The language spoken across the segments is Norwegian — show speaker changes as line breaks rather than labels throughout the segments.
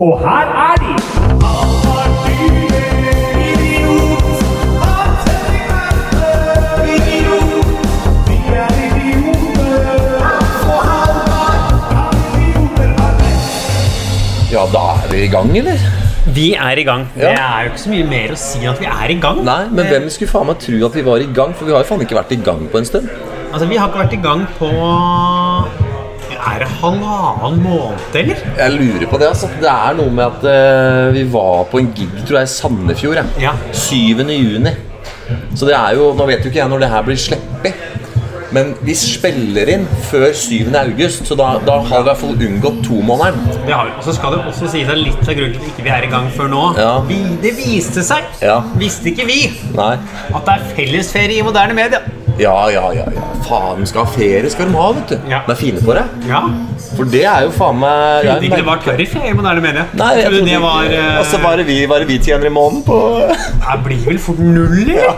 Og her er de!
Ja, da er vi i gang, eller?
Vi er i gang.
Ja.
Det er jo ikke så mye mer å si enn at vi er i gang. Eh,
Nei, men hvem skulle faen meg tro at vi var i gang? For vi har jo faen ikke vært i gang på en stund.
Altså, Vi har ikke vært i gang på Er det halvannen måned, eller?
Jeg lurer på det, altså. Det er noe med at eh, vi var på en gig, tror jeg, i Sandefjord. jeg.
Ja.
7. juni. Så det er jo Nå vet jo ikke jeg når det her blir sluppet. Men vi spiller inn før 7. august, så da, da har vi i hvert fall unngått tomånederen.
Det har vi. Og så skal det også sies at litt av grunnen til at ikke vi er i gang før nå
Ja.
vi, Det viste seg,
Ja.
visste ikke vi,
Nei.
at det er fellesferie i moderne media.
Ja, ja, ja. ja. Faen, de skal ha ferie, skal de ha, vet du.
Ja.
De er fine på det.
Ja.
For det er jo faen meg
Trodde ikke det
merker-
var tørrferie i moderne media.
Nei, jeg
trodde
trodde
det
ikke- altså,
var eh,
Og så var det vi, var det vi tjener i måneden på
Det blir vel fort null, eller? Ja,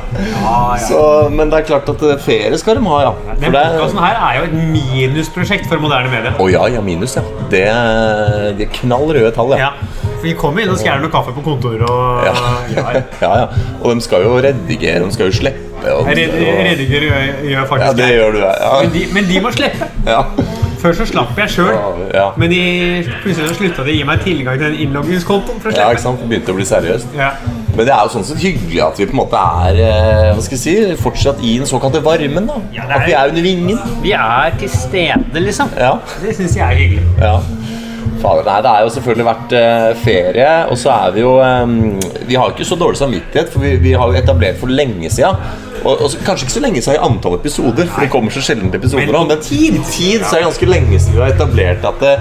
ja.
Så, men det er klart at eh, ferie skal de ha, ja. For
Den
det er,
podkasten her er jo et minusprosjekt for moderne media.
å ja, ja, minus, ja. Det, er- de er knall røde tall, ja.
Ja. Vi kommer inn og skjærer noe kaffe på kontoret og
Ja.
ja.
ja, ja. Og de skal jo redigere, de skal jo slippe og,
Red-
og
Rediger gjør, gjør
Ja,
faktisk
det gjør du, ja.
Men, de, men de må slippe.
ja.
Før så slapp jeg sjøl.
Ja.
Men de, plutselig så slutta de å gi meg tilgang til den innloggingskontoen. for å
ja, ikke
slippe.
sant? Det Begynte å bli seriøst.
Ja.
Men det er jo sånn sett hyggelig at vi på en måte er eh, hva skal jeg si, fortsatt i den såkalte varmen. da.
Ja, det er-
At vi er under vingen.
Vi er til stede, liksom.
Ja.
Det syns jeg er hyggelig.
Ja. Fader, nei, det er jo selvfølgelig vært eh, ferie, og så er vi jo eh, Vi har jo ikke så dårlig samvittighet, for vi, vi har jo etablert for lenge sida. Og, og så, kanskje ikke så lenge siden i antall episoder, for det kommer så sjelden episoder
Men
nå.
i
Men
tid.
i tid så er det ganske lenge siden vi har etablert at det,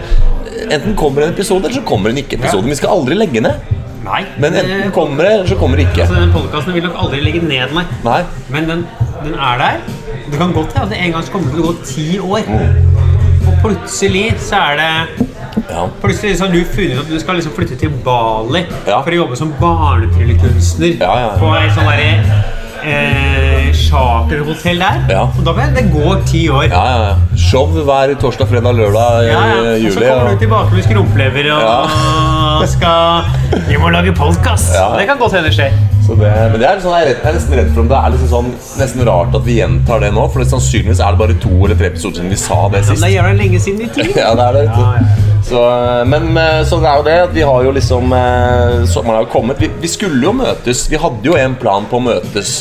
enten kommer en episode, eller så kommer en ikke-episode. Vi skal aldri legge ned.
Nei.
Men enten kommer det, eller så kommer det
Så
ikke.
den podkasten vil nok aldri ligge ned, nei.
Nei.
Men den, den er der. Det kan godt hende at det en gang så kommer det til å gå ti år.
Mm.
Og plutselig så er det
Ja.
Plutselig så har du funnet ut at du skal liksom flytte til Bali
Ja.
for å jobbe som barnetryllekunstner
Ja, ja, ja.
på et sånt derre eh, charterhotell der.
Ja.
Og da vil det gå ti år.
Ja, ja, ja. Show hver torsdag, fredag, lørdag i
Ja, ja.
eh,
Og så
juli.
kommer du
ja.
tilbake med skrumplever og skal Vi må lage podkast!
Ja.
Det kan godt hende skjer.
Så det, men det er litt sånn, jeg, er redd, jeg er nesten redd for om det er liksom sånn, nesten rart at vi gjentar det nå. For det, sannsynligvis er det bare to eller tre episoder siden vi sa det
Men
sist.
det gjør det lenge siden i tid.
Ja, det er det. vet du.
Ja, ja.
Så, men eh, så det er jo det at vi har jo liksom eh, Sommeren har jo kommet. Vi, vi skulle jo møtes. Vi hadde jo en plan på å møtes.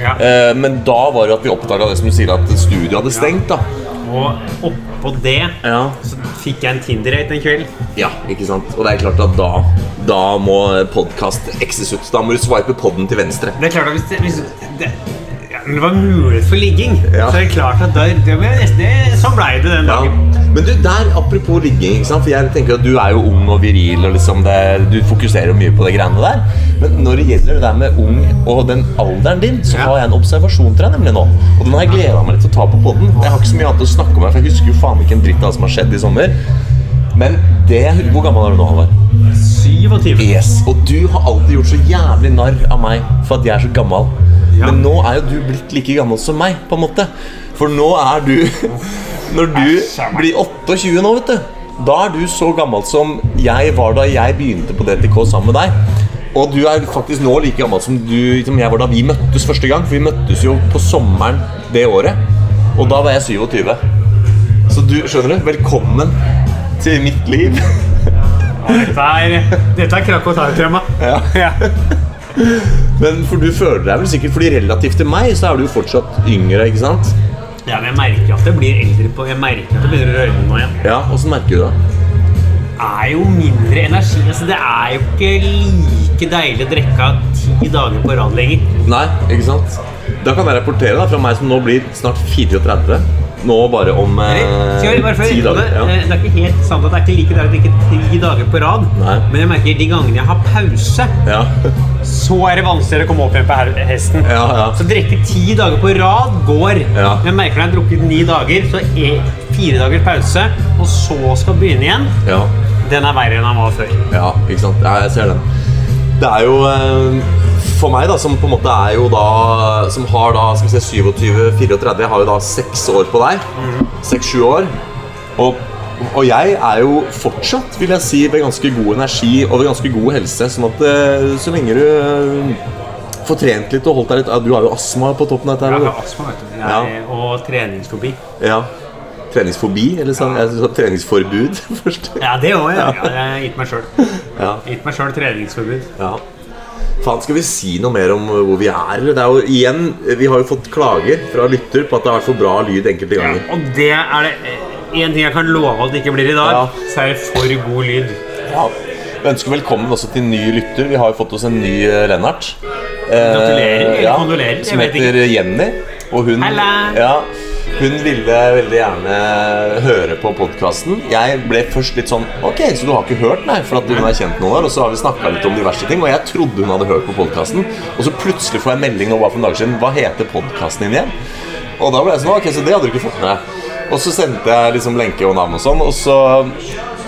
Ja.
Eh, Men da var det at vi oppdaga det som du sier, at studioet hadde stengt. da
Og oppå det
Ja.
så fikk jeg en Tinder-date en kveld.
Ja, ikke sant? Og det er klart at da, da må podkast ekses ut. Da må du swipe podden til venstre.
Det er klart at hvis det, hvis det, ja, når det var mulighet for ligging,
Ja.
så er det klart at der, det, var nesten- det, sånn blei det den
Ja.
dagen.
Men du, der, apropos ligging, ikke sant? for jeg tenker at du er jo ung og viril, og liksom det, du fokuserer jo mye på de greiene der. Men når det gjelder det der med ung og den alderen din, så
Ja.
har jeg en observasjon til deg nemlig nå. Og den har jeg gleda meg litt til å ta på podden. Jeg har ikke så mye annet å snakke om her, for jeg husker jo faen ikke en dritt av det som har skjedd i sommer. Men det Hvor gammel er du nå, Halvard?
27.
Yes. Og du har alltid gjort så jævlig narr av meg for at jeg er så gammel.
Ja.
Men nå er jo du blitt like gammel som meg, på en måte. For nå er du Når
Æsj,
du
meg.
blir 28 nå, vet du, da er du så gammel som jeg var da jeg begynte på DTK sammen med deg. Og du er faktisk nå like gammel som, du, som jeg var da vi møttes første gang. For vi møttes jo på sommeren det året. Og da var jeg 27. Så du, skjønner du, velkommen til mitt liv.
Dette er, dette er krakk og tau-tema.
Ja.
Ja.
Men for du føler deg vel sikkert Fordi relativt til meg så er du jo fortsatt yngre, ikke sant?
ja, men jeg merker at jeg blir eldre på Jeg merker at det begynner å røyne nå igjen.
Ja, Åssen merker du det?
Det er jo mindre energi. Altså, det er jo ikke like deilig å drikke av ti dager på rad lenger.
Nei, ikke sant? Da kan jeg rapportere da fra meg som nå blir snart 34. Nå bare om eh,
Skal vi bare få
ti
vite på det?
dager. Ja.
Eh, Det er ikke helt sant at det er ikke like deilig å drikke ti dager på rad.
Nei.
Men jeg merker de gangene jeg har pause,
Ja.
så er det vanskeligere å komme opp igjen på her- hesten.
ja, ja.
Så drikke ti dager på rad går.
Ja.
Jeg merker når jeg har drukket ni dager, så er fire dagers pause, og så skal begynne igjen.
ja.
Den er verre enn han var før.
Ja, ikke sant? Ja, jeg ser den. Det er jo eh, For meg, da, som på en måte er jo da Som har da skal vi se, 27, 34 Jeg har jo da seks år på deg. Seks-sju år. Og Og jeg er jo fortsatt, vil jeg si, ved ganske god energi og ved ganske god helse. Sånn at eh, så lenge du eh, får trent litt og holdt deg litt ja, Du har jo astma på toppen av dette.
Jeg har
her,
astma vet du. Jeg, og treningsfobi.
vet du. Ja. Treningsfobi? Eller sånn, jeg sa treningsforbud først.
Ja, det òg. Ja. Ja, jeg har gitt meg sjøl.
Ja.
Gitt meg sjøl treningsforbud.
Ja. Faen, skal vi si noe mer om hvor vi er? eller? Det er jo igjen, Vi har jo fått klager fra lytter på at det har vært for bra lyd enkelte ganger.
Og det er det én ting jeg kan love at det ikke blir i dag,
Ja.
så er det for god lyd.
Ja. Vi ønsker velkommen også til ny lytter. Vi har jo fått oss en ny eh, Lennart. Eh,
Gratulerer, eller kondolerer, jeg
Som
vet
heter Jenny. Og hun,
Halla.
ja, hun ville veldig gjerne høre på podkasten. Jeg ble først litt sånn Ok, så du har ikke hørt, nei? For at hun er kjent noen år, og så har vi snakka litt om diverse ting. Og jeg trodde hun hadde hørt på podkasten, og så plutselig får jeg melding nå bare for noen dager siden. Hva heter podkasten din igjen? Og da ble jeg sånn Ok, så det hadde du ikke fått med deg. Og så sendte jeg liksom lenke og navn og sånn, og så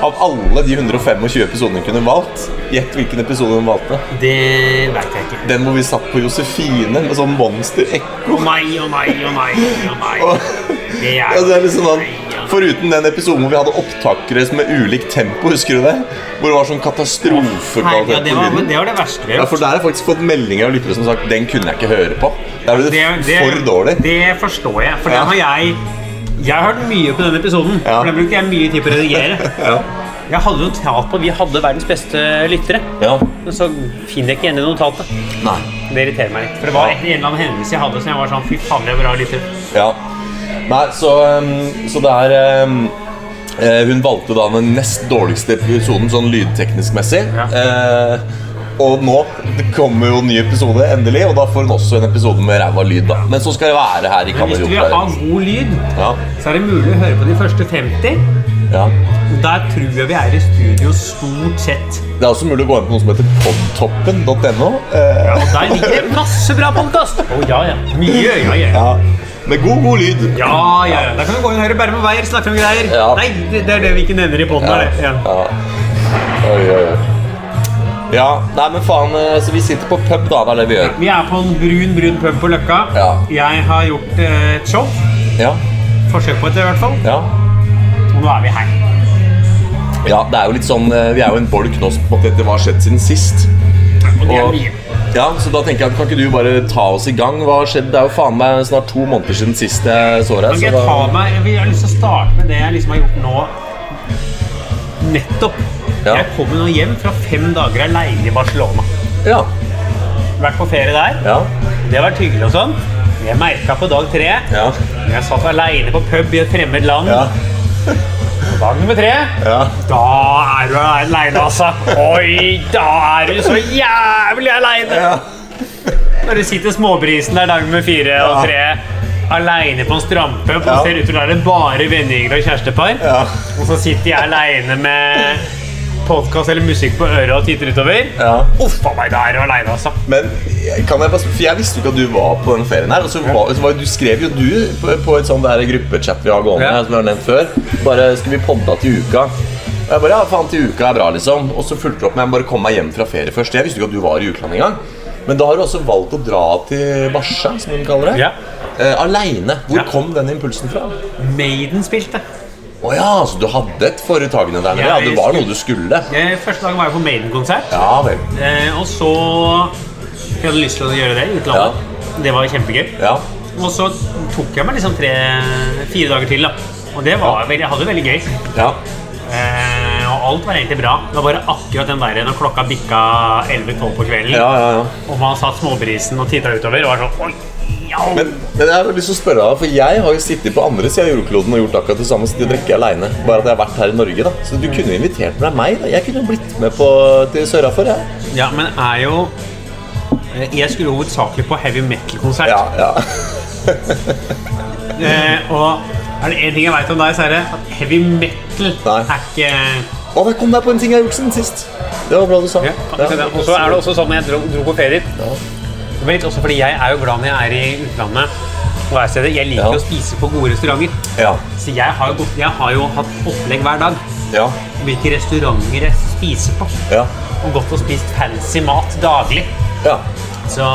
Av alle de 125 episodene hun kunne valgt, gjett hvilken episode hun valgte.
Det veit jeg ikke.
Den hvor vi satt på Josefine med sånn monster-ekko.
Å nei, å nei, å nei. å nei Det er,
Ja, det er liksom sånn Foruten den episoden hvor vi hadde opptakere som med ulikt tempo, husker du det? Hvor det var sånn
Herregud, ja,
katastrofekvalitet
det,
på
var,
lyden.
det var det verste vi
Ja,
har
for
gjort.
der har jeg faktisk fått meldinger av lyttere som har sagt den kunne jeg ikke høre på. Der ble det,
Det- det-
for dårlig.
Det forstår jeg. For
Ja.
den har jeg Jeg har hørt mye på den episoden.
Ja.
For den brukte jeg mye tid på å redigere.
Ja.
Jeg hadde notat på at vi hadde verdens beste lyttere.
ja.
Men så finner jeg ikke igjen i notatet.
Nei.
Det irriterer meg litt. For det var en eller annen hendelse jeg hadde som jeg var sånn Fy faen, det er bra lyttere.
Ja. Nei, så, um, så det er um, eh, Hun valgte da den nest dårligste episoden sånn lydteknisk messig.
Ja.
Eh, og nå det kommer jo en ny episode, endelig, og da får hun også en episode med ræva lyd. da Men så skal det være her i
Hvis du vil ha
kammerrommet.
god lyd,
Ja,
så er det mulig å høre på de første 50.
ja.
Der tror jeg vi er i studio stort sett.
Det er også mulig å gå inn på noe som heter podtoppen.no. eh,
Og der ligger det masse bra podkast! Å ja, ja. Mye, ja, ja.
ja. Med god, god lyd.
Ja, ja, ja. Da kan vi gå inn her og bære med veier, snakke om greier.
Ja.
Nei, det, det er det vi ikke nevner i poden.
Ja.
Ja.
ja. Oi, oi, oi. Ja, nei, men faen, eh, så vi sitter på pub, da. Det er det vi gjør.
Vi er på en brun, brun pub på Løkka.
Ja.
Jeg har gjort eh, et show.
Ja,
Forsøk på et, i hvert fall.
ja.
Og nå er vi her.
Ja, det er jo litt sånn eh, Vi er jo en bolk nå som på en måte etter hva har skjedd siden sist.
Og det er
Og-
mye.
Ja, så da tenker jeg at Kan ikke du bare ta oss i gang? Hva har skjedd? Det er jo faen meg snart to måneder siden sist jeg så deg.
Men
Så
jeg,
da,
tar meg, jeg vil- jeg har lyst til å starte med det jeg liksom har gjort nå. Nettopp.
Ja.
Jeg kom jo nå hjem fra fem dager aleine i Barcelona.
ja,
Vært på ferie der.
ja,
Det har vært hyggelig og sånn. Men Jeg merka på dag tre
ja,
Jeg satt aleine på pub i et fremmed land.
ja,
Dag nummer tre.
ja.
Da er du aleine, altså. Oi, da er du så jævlig aleine!
ja.
Når du sitter småbrisen der dag nummer fire og tre aleine på en strampub og
Ja.
ser ut til å være bare vennegjenger og kjærestepar,
Ja.
og så sitter jeg aleine med podkast eller musikk på øret og titter utover
Ja.
Uff a meg, da er du aleine, altså.
Men kan jeg bare sp- For jeg visste jo ikke at du var på den ferien her. Og så var, så var, jo- du skrev jo du på, på et sånn der gruppechat vi har gående,
Ja.
som vi har nevnt før. Bare skal vi podda til uka? Og jeg bare, ja faen til uka er bra liksom Og så fulgte du opp med jeg må bare komme meg hjem fra ferie først. Jeg visste jo ikke at du var i utlandet engang. Men da har du også valgt å dra til Barsa, som hun kaller det.
Ja.
Eh, Aleine. Hvor
Ja.
kom den impulsen fra?
Maiden spilte.
Å ja, så du hadde et foretagende der nede? Ja,
Jeg
det var
skulle-
noe du skulle?
Eh, Første dagen var jeg på Maiden-konsert.
Ja vel.
Eh, og så Jeg hadde lyst til å gjøre det i utlandet. Det var kjempegøy.
Ja.
Og så tok jeg meg liksom tre-fire dager til. da Og det var veldig, jeg hadde det veldig gøy.
Ja.
Eh, og alt var egentlig bra. Det var bare akkurat den der når klokka bikka 11-12 på kvelden,
Ja, ja, ja.
og man satt småbrisen og titta utover og var sånn Oi! Jau.
Men, men jeg har lyst til å spørre deg, for jeg har jo sittet på andre siden av jordkloden og gjort akkurat det samme, sittet og drukket alene. Bare at jeg har vært her i Norge, da. Så du kunne jo invitert med deg meg, da. Jeg kunne jo blitt med på til Sørafor, jeg.
Ja, men er jo eh, Jeg skulle jo hovedsakelig på heavy metal-konsert.
Ja, ja.
Eh, og er det én ting jeg veit om deg, så er det at heavy metal
Nei.
er ikke
Å, der kom jeg på en ting jeg har gjort siden sist. Det var bra du sa.
Ja, akkurat det. Og så er det også sånn når jeg dro, dro på ferie dit. Det var litt også fordi jeg er jo glad når jeg er i utlandet. Og er steder. Jeg liker
Ja.
å spise på gode restauranter.
Ja.
Så jeg har, jo gått, jeg har jo hatt opplegg hver dag.
Ja.
Hvilke restauranter jeg spiser på.
Ja.
Og gått og spist fancy mat daglig.
Ja.
Så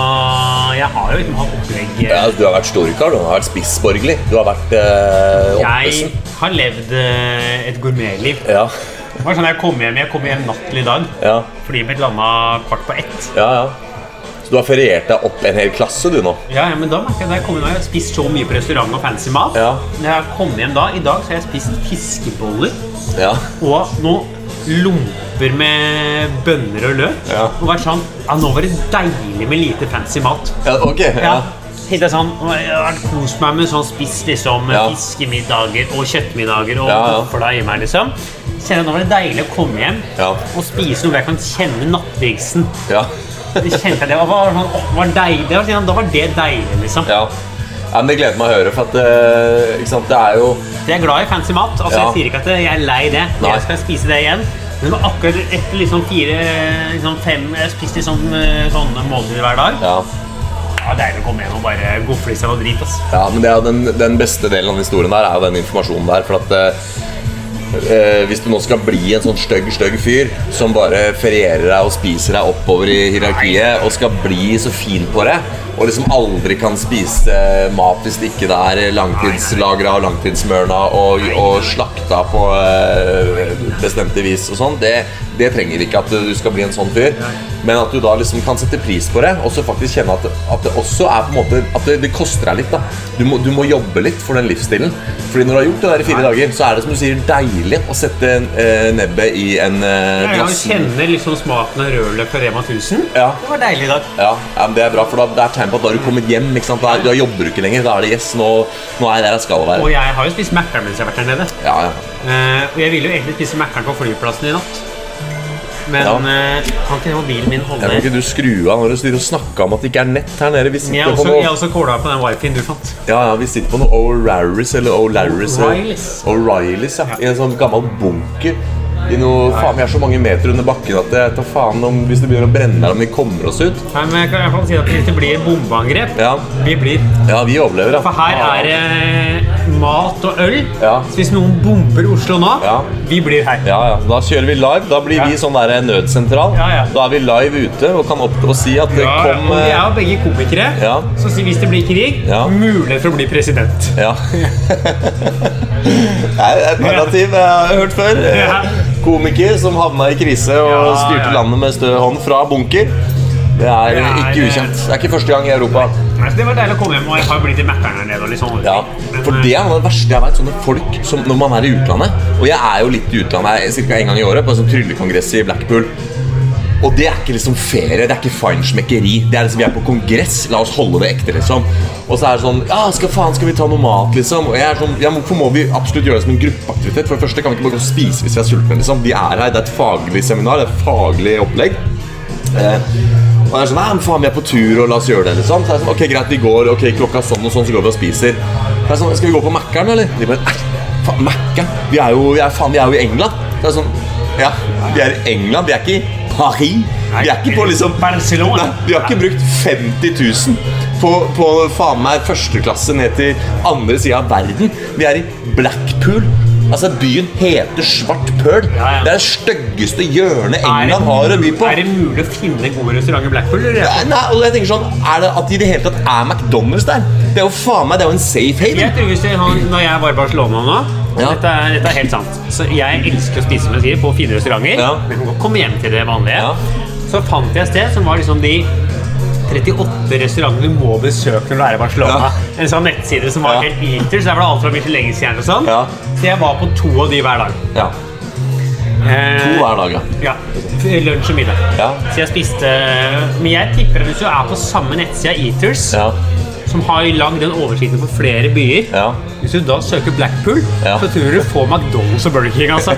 jeg har jo liksom hatt opplegg
Ja, du har vært storkar, du har vært spissborgerlig. Du har vært eh,
Jeg
oppesen.
har levd eh, et gourmetliv.
Ja,
Det var sånn jeg kom hjem, jeg kom hjem natt til i dag.
ja,
Flyet mitt landa kvart på ett.
ja, ja. Så du har feriert deg opp en hel klasse, du nå.
Ja, ja, men da merker jeg at jeg kom hjem, og jeg har spist så mye på restaurant og fancy mat.
Ja.
Når jeg kom hjem da, I dag så har jeg spist fiskeboller
Ja,
og noen lomper med bønner og løk.
Ja.
Og vært sånn Ja, nå var det deilig med lite fancy mat.
ja ok.
Ja.
Ja.
Tenkte jeg sånn, «Å, jeg har kost meg med sånn spist liksom
Ja.
fiskemiddager og kjøttmiddager og
Ja, ja.
for da hjemme her liksom. Kjenner jeg nå var det deilig å komme hjem
Ja.
og spise noe hvor jeg kan kjenne nattbriksen.
Ja.
Det kjente jeg, det var, var, sånn, «Å, var deilig. Det var, sånn, da var det deilig liksom.
ja. ja men det gleder meg å høre, for at eh, ikke sant, det er jo
For jeg er glad i fancy mat. Altså,
Ja.
Jeg sier ikke at jeg er lei det.
Nei.
Jeg skal spise det igjen. Men det var akkurat etter liksom fire, liksom fem Jeg spiste liksom eh, sånne måltider hver dag.
Ja.
Det var deilig å komme hjem og bare gofle i seg noe drit. ass.
Ja, men det er jo den, den beste delen av den historien der er jo den informasjonen der. For at eh, eh, hvis du nå skal bli en sånn stygg, stygg fyr som bare ferierer deg og spiser deg oppover i hierarkiet og skal bli så fin på det, og liksom aldri kan spise mat hvis det ikke det er langtidslagra og langtidsmørna og, og slakta på eh, bestemte vis og sånn, det, det trenger ikke at du skal bli en sånn fyr. Men at du da liksom kan sette pris på det, og så faktisk kjenne at, at det også er på en måte At det, det koster deg litt, da. Du må, du må jobbe litt for den livsstilen. Fordi når du har gjort det der i fire dager, så er det som du sier deilig å sette eh, nebbet i en eh,
Jeg
glass.
kjenner liksom smaken av rødløk fra Rema 1000.
Ja.
Det var deilig i dag.
Ja, ja, men Det er bra, for da det er tegn på at da har du kommet hjem. ikke sant? Da, er, da jobber du ikke lenger. Da er det yes, nå, nå er jeg der jeg skal
Og
være.
jeg har jo spist Mækkern mens jeg har vært der nede.
Ja, ja.
Eh, og jeg ville jo egentlig spise Mækkern på flyplassen i natt. Men
Ja.
eh, kan ikke mobilen min
Jeg
holde
kan ikke du skru av når du sitter og snakker om at det ikke er nett her nede. Vi
Jeg har
sitter på
også, jeg har
noe,
også kåla på den wifien du fant.
ja, ja, vi sitter på noe O'Rarys eller O'Larrys
O'Reillys.
O'Reillys, ja. I en sånn gammel bunker. I noe, faen, Vi er så mange meter under bakken at jeg tar faen om hvis det begynner å brenne her, om vi kommer oss ut.
Nei, men jeg kan i hvert fall si at hvis det blir bombeangrep
Ja,
Vi blir.
ja vi overlever, da.
For her er det mat og øl.
Ah. Ja.
Så hvis noen bomber Oslo nå,
Ja.
vi blir her.
Ja, ja. Da kjører vi live. Da blir
Ja.
vi sånn der nødsentral.
Ja, ja.
Da er vi live ute og kan opp og si at det
Ja,
kom
og vi
eh,
er jo begge komikere,
Ja.
så si- hvis det blir krig,
Ja.
mulighet for å bli president.
Ja. Nei, et narrativ jeg har hørt før.
Ja.
Komiker som havna i krise og
Ja,
styrte
ja.
landet med stø hånd fra bunker. Det er
Det er-
ikke ukjent. Det er ikke første gang i Europa.
Nei, så det var deilig å komme hjem, og jeg har jo blitt i Mækkern her nede. og litt sånn.
Ja,
Men,
for
eh,
det er noe av det verste jeg vet, sånne folk som når man er i utlandet Og jeg er jo litt i utlandet ca. en gang i året på en sånn tryllekongress i Blackpool. Og det er ikke liksom ferie, det er ikke feinschmeckeri. Det er liksom vi er på kongress, la oss holde det ekte, liksom. Og så er det sånn Ja, skal faen, skal vi ta noe mat, liksom? Og jeg er sånn Ja, men hvorfor må vi absolutt gjøre det som en gruppeaktivitet? For det første kan vi ikke bare gå og spise hvis vi er sultne, liksom. Vi er her, det er et faglig seminar, det er et faglig opplegg. Eh, og jeg er sånn, nei, men faen, vi er på tur, og la oss gjøre det, liksom. Så jeg er sånn, ok, greit, vi går, ok, klokka er sånn og sånn, så går vi og spiser. Så jeg er sånn, skal vi gå på Mækkern, eller? De bare, nei, faen, Mækkern? Vi er jo, vi er, faen, vi er jo i England. Så jeg er sånn, ja, vi er i England, vi er ikke i Paris. Vi er ikke på liksom...
Barcelona.
Nei, vi har ikke brukt 50 000 på, på faen meg førsteklasse ned til andre sida av verden. Vi er i Blackpool. Altså, byen heter Svart Pøl.
Ja, ja.
Det er det styggeste hjørnet
Er det-
England har å by på.
Er det mulig å finne gode restauranter i Blackpool? Eller?
Nei, Nei, og jeg tenker sånn, Er det at det i det hele tatt er McDonald's der? Det er jo faen meg, det er jo en safe
Jeg
haven.
tror hvis jeg, han, Når jeg var i Barcelona nå og
Ja.
dette, er, dette er helt sant. Så jeg elsker å spise som jeg sier, på fine restauranter.
Ja.
Men jeg kan godt komme hjem til det vanlige.
Ja.
Så fant jeg et sted som var liksom de 38 restaurantene du må besøke når du er i Barcelona. En sånn nettside som var
Ja.
helt eater, så der var det alt fra Michelin-stjerner og sånn.
Ja.
Så jeg var på to av de hver dag.
Ja, To
Eh,
hver dag, ja.
ja. Lunsj og middag.
Ja.
Så jeg spiste Men jeg tipper at hvis du er på samme nettside Eaters,
Ja,
som har lagd den oversikten for flere byer
ja.
hvis du da søker Blackpool,
Ja.
så tror du du får McDonald's og Burger King. altså.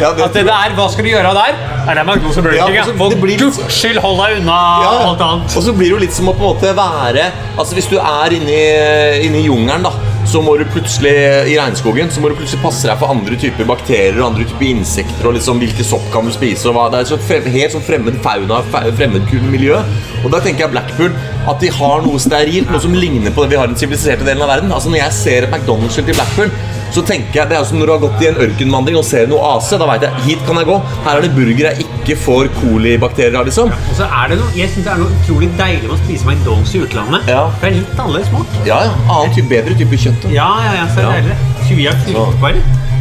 Ja, det-
At det der, Hva skal du gjøre der? Nei, det er McDonald's og Burger
Ja,
King.
altså,
Ja. For
det blir-
guds skyld, hold deg unna
ja.
alt annet.
Og så blir det jo litt som å på en måte være Altså Hvis du er inni, inni jungelen, da, så må du plutselig i regnskogen så må du plutselig passe deg for andre typer bakterier og andre typer insekter. og liksom hvilke sopp kan du spise og hva, Det er så frem, helt sånn fremmed fauna, fe- fremmed ku- miljø. Og da tenker jeg Blackpool at de har noe sterilt, noe som ligner på det vi har i den siviliserte delen av verden. Altså Når jeg ser et McDonald's-skilt i Blackpool Så tenker jeg, Det er jo som når du har gått i en ørkenvandring og ser noe AC. Da vet jeg hit kan jeg gå. Her er det burger jeg ikke får kolibakterier av. liksom
Og så er det noe, jeg synes det er noe utrolig deilig med å spise McDonald's i utlandet.
Ja.
For det er litt annerledes smak.
Ja, ja. Annen type, bedre type kjøtt. da.
Ja, ja, ja, så er det
Ja.
deilig. Tjuvia
Så-
knirkbar.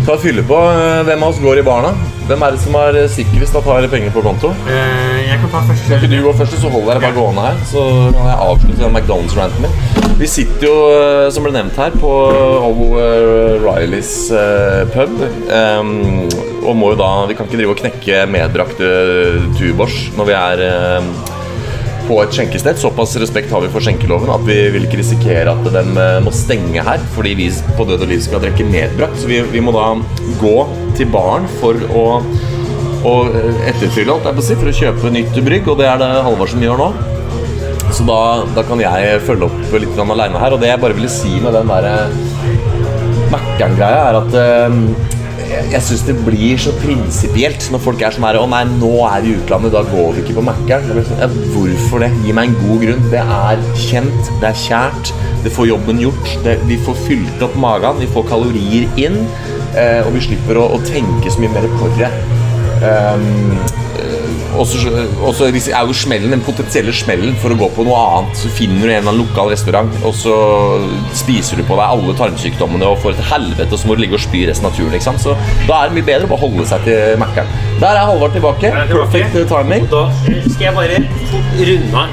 Ta fylle på. eh, Hvem av oss går i baren, da? Hvem er det som er eh, sikrest at har penger på konto?
Eh, jeg kan ta første.
Skal ikke du gå først, så holder jeg bare gående her. Så kan jeg avslutte den McDonald's-ranten min. Vi sitter jo, eh, som ble nevnt her, på Ovo eh, Rileys eh, pub. Em, og må jo da Vi kan ikke drive og knekke medbrakte tubors når vi er eh, em, på et skjenkested. Såpass respekt har vi for skjenkeloven at vi vil ikke risikere at den eh, må stenge her fordi vi på Død og Liv skal drikke medbrakt. Så vi, vi må da gå til baren for å, å etterfylle, holdt jeg på å si, for å kjøpe nytt brygg, og det er det Halvor som gjør nå. Så da, da kan jeg følge opp litt aleine her. Og det jeg bare ville si med den derre Mækkern-greia er at eh, jeg- jeg syns det blir så prinsipielt når folk er sånn her Å nei, nå er vi i utlandet, da går vi ikke på Mækkern. Det blir sånn, ja, Hvorfor det? Gi meg en god grunn. Det er kjent, det er kjært, det får jobben gjort. Det, vi får fylt opp magen, vi får kalorier inn. eh, og vi slipper å, å tenke så mye mer på det. Um, og så og så ris- er jo smellen, den potensielle smellen for å gå på noe annet. Så finner du en eller annen lokal restaurant, og så spiser du på deg alle tarmsykdommene og får et helvete, og så må du ligge og spy resten av turen. ikke sant? Så da er det mye bedre å bare holde seg til Mækkern. Der er Halvard tilbake.
Jeg er tilbake.
Perfekt timing.
Og Da eh, skal jeg bare fort runde av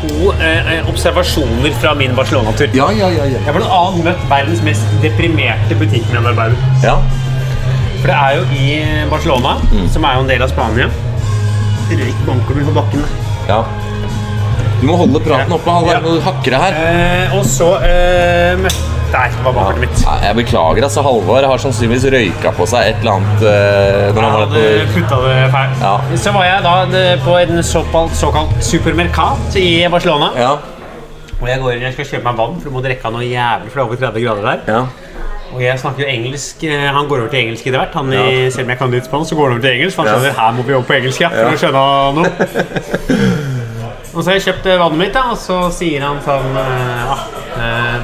to eh, eh, observasjoner fra min Barcelona-tur.
Ja, ja, ja. ja.
Jeg har blant annet møtt verdens mest deprimerte butikkmedarbeider.
ja.
For det er jo i eh, Barcelona,
Mm.
som er jo en del av Spania Røyk banker du på bakken.
ja. Du må holde praten oppe, Halvard. Nå hakker det her.
Eh, og så eh, møtte Der var bakkertet mitt.
Nei, Jeg beklager, altså. Halvard har sannsynligvis røyka på seg et eller annet eh, når han var
Han
på
hadde putta det feil.
Ja.
Så var jeg da eh, på en såkalt, såkalt supermerkat i Barcelona.
Ja.
Og jeg går inn, jeg skal kjøpe meg vann, for du må drikke av noe jævlig, for det er over 30 grader der.
ja.
Og jeg snakker jo engelsk. eh, Han går over til engelsk etter hvert. Han,
Ja.
i, selv om jeg kan litt spansk, så går han over til engelsk. For han
Ja.
skjønner her må vi over på engelsk ja, for
Ja.
å skjønne noe. og så har jeg kjøpt eh, vannet mitt, da, og så sier han sånn eh, ah, eh,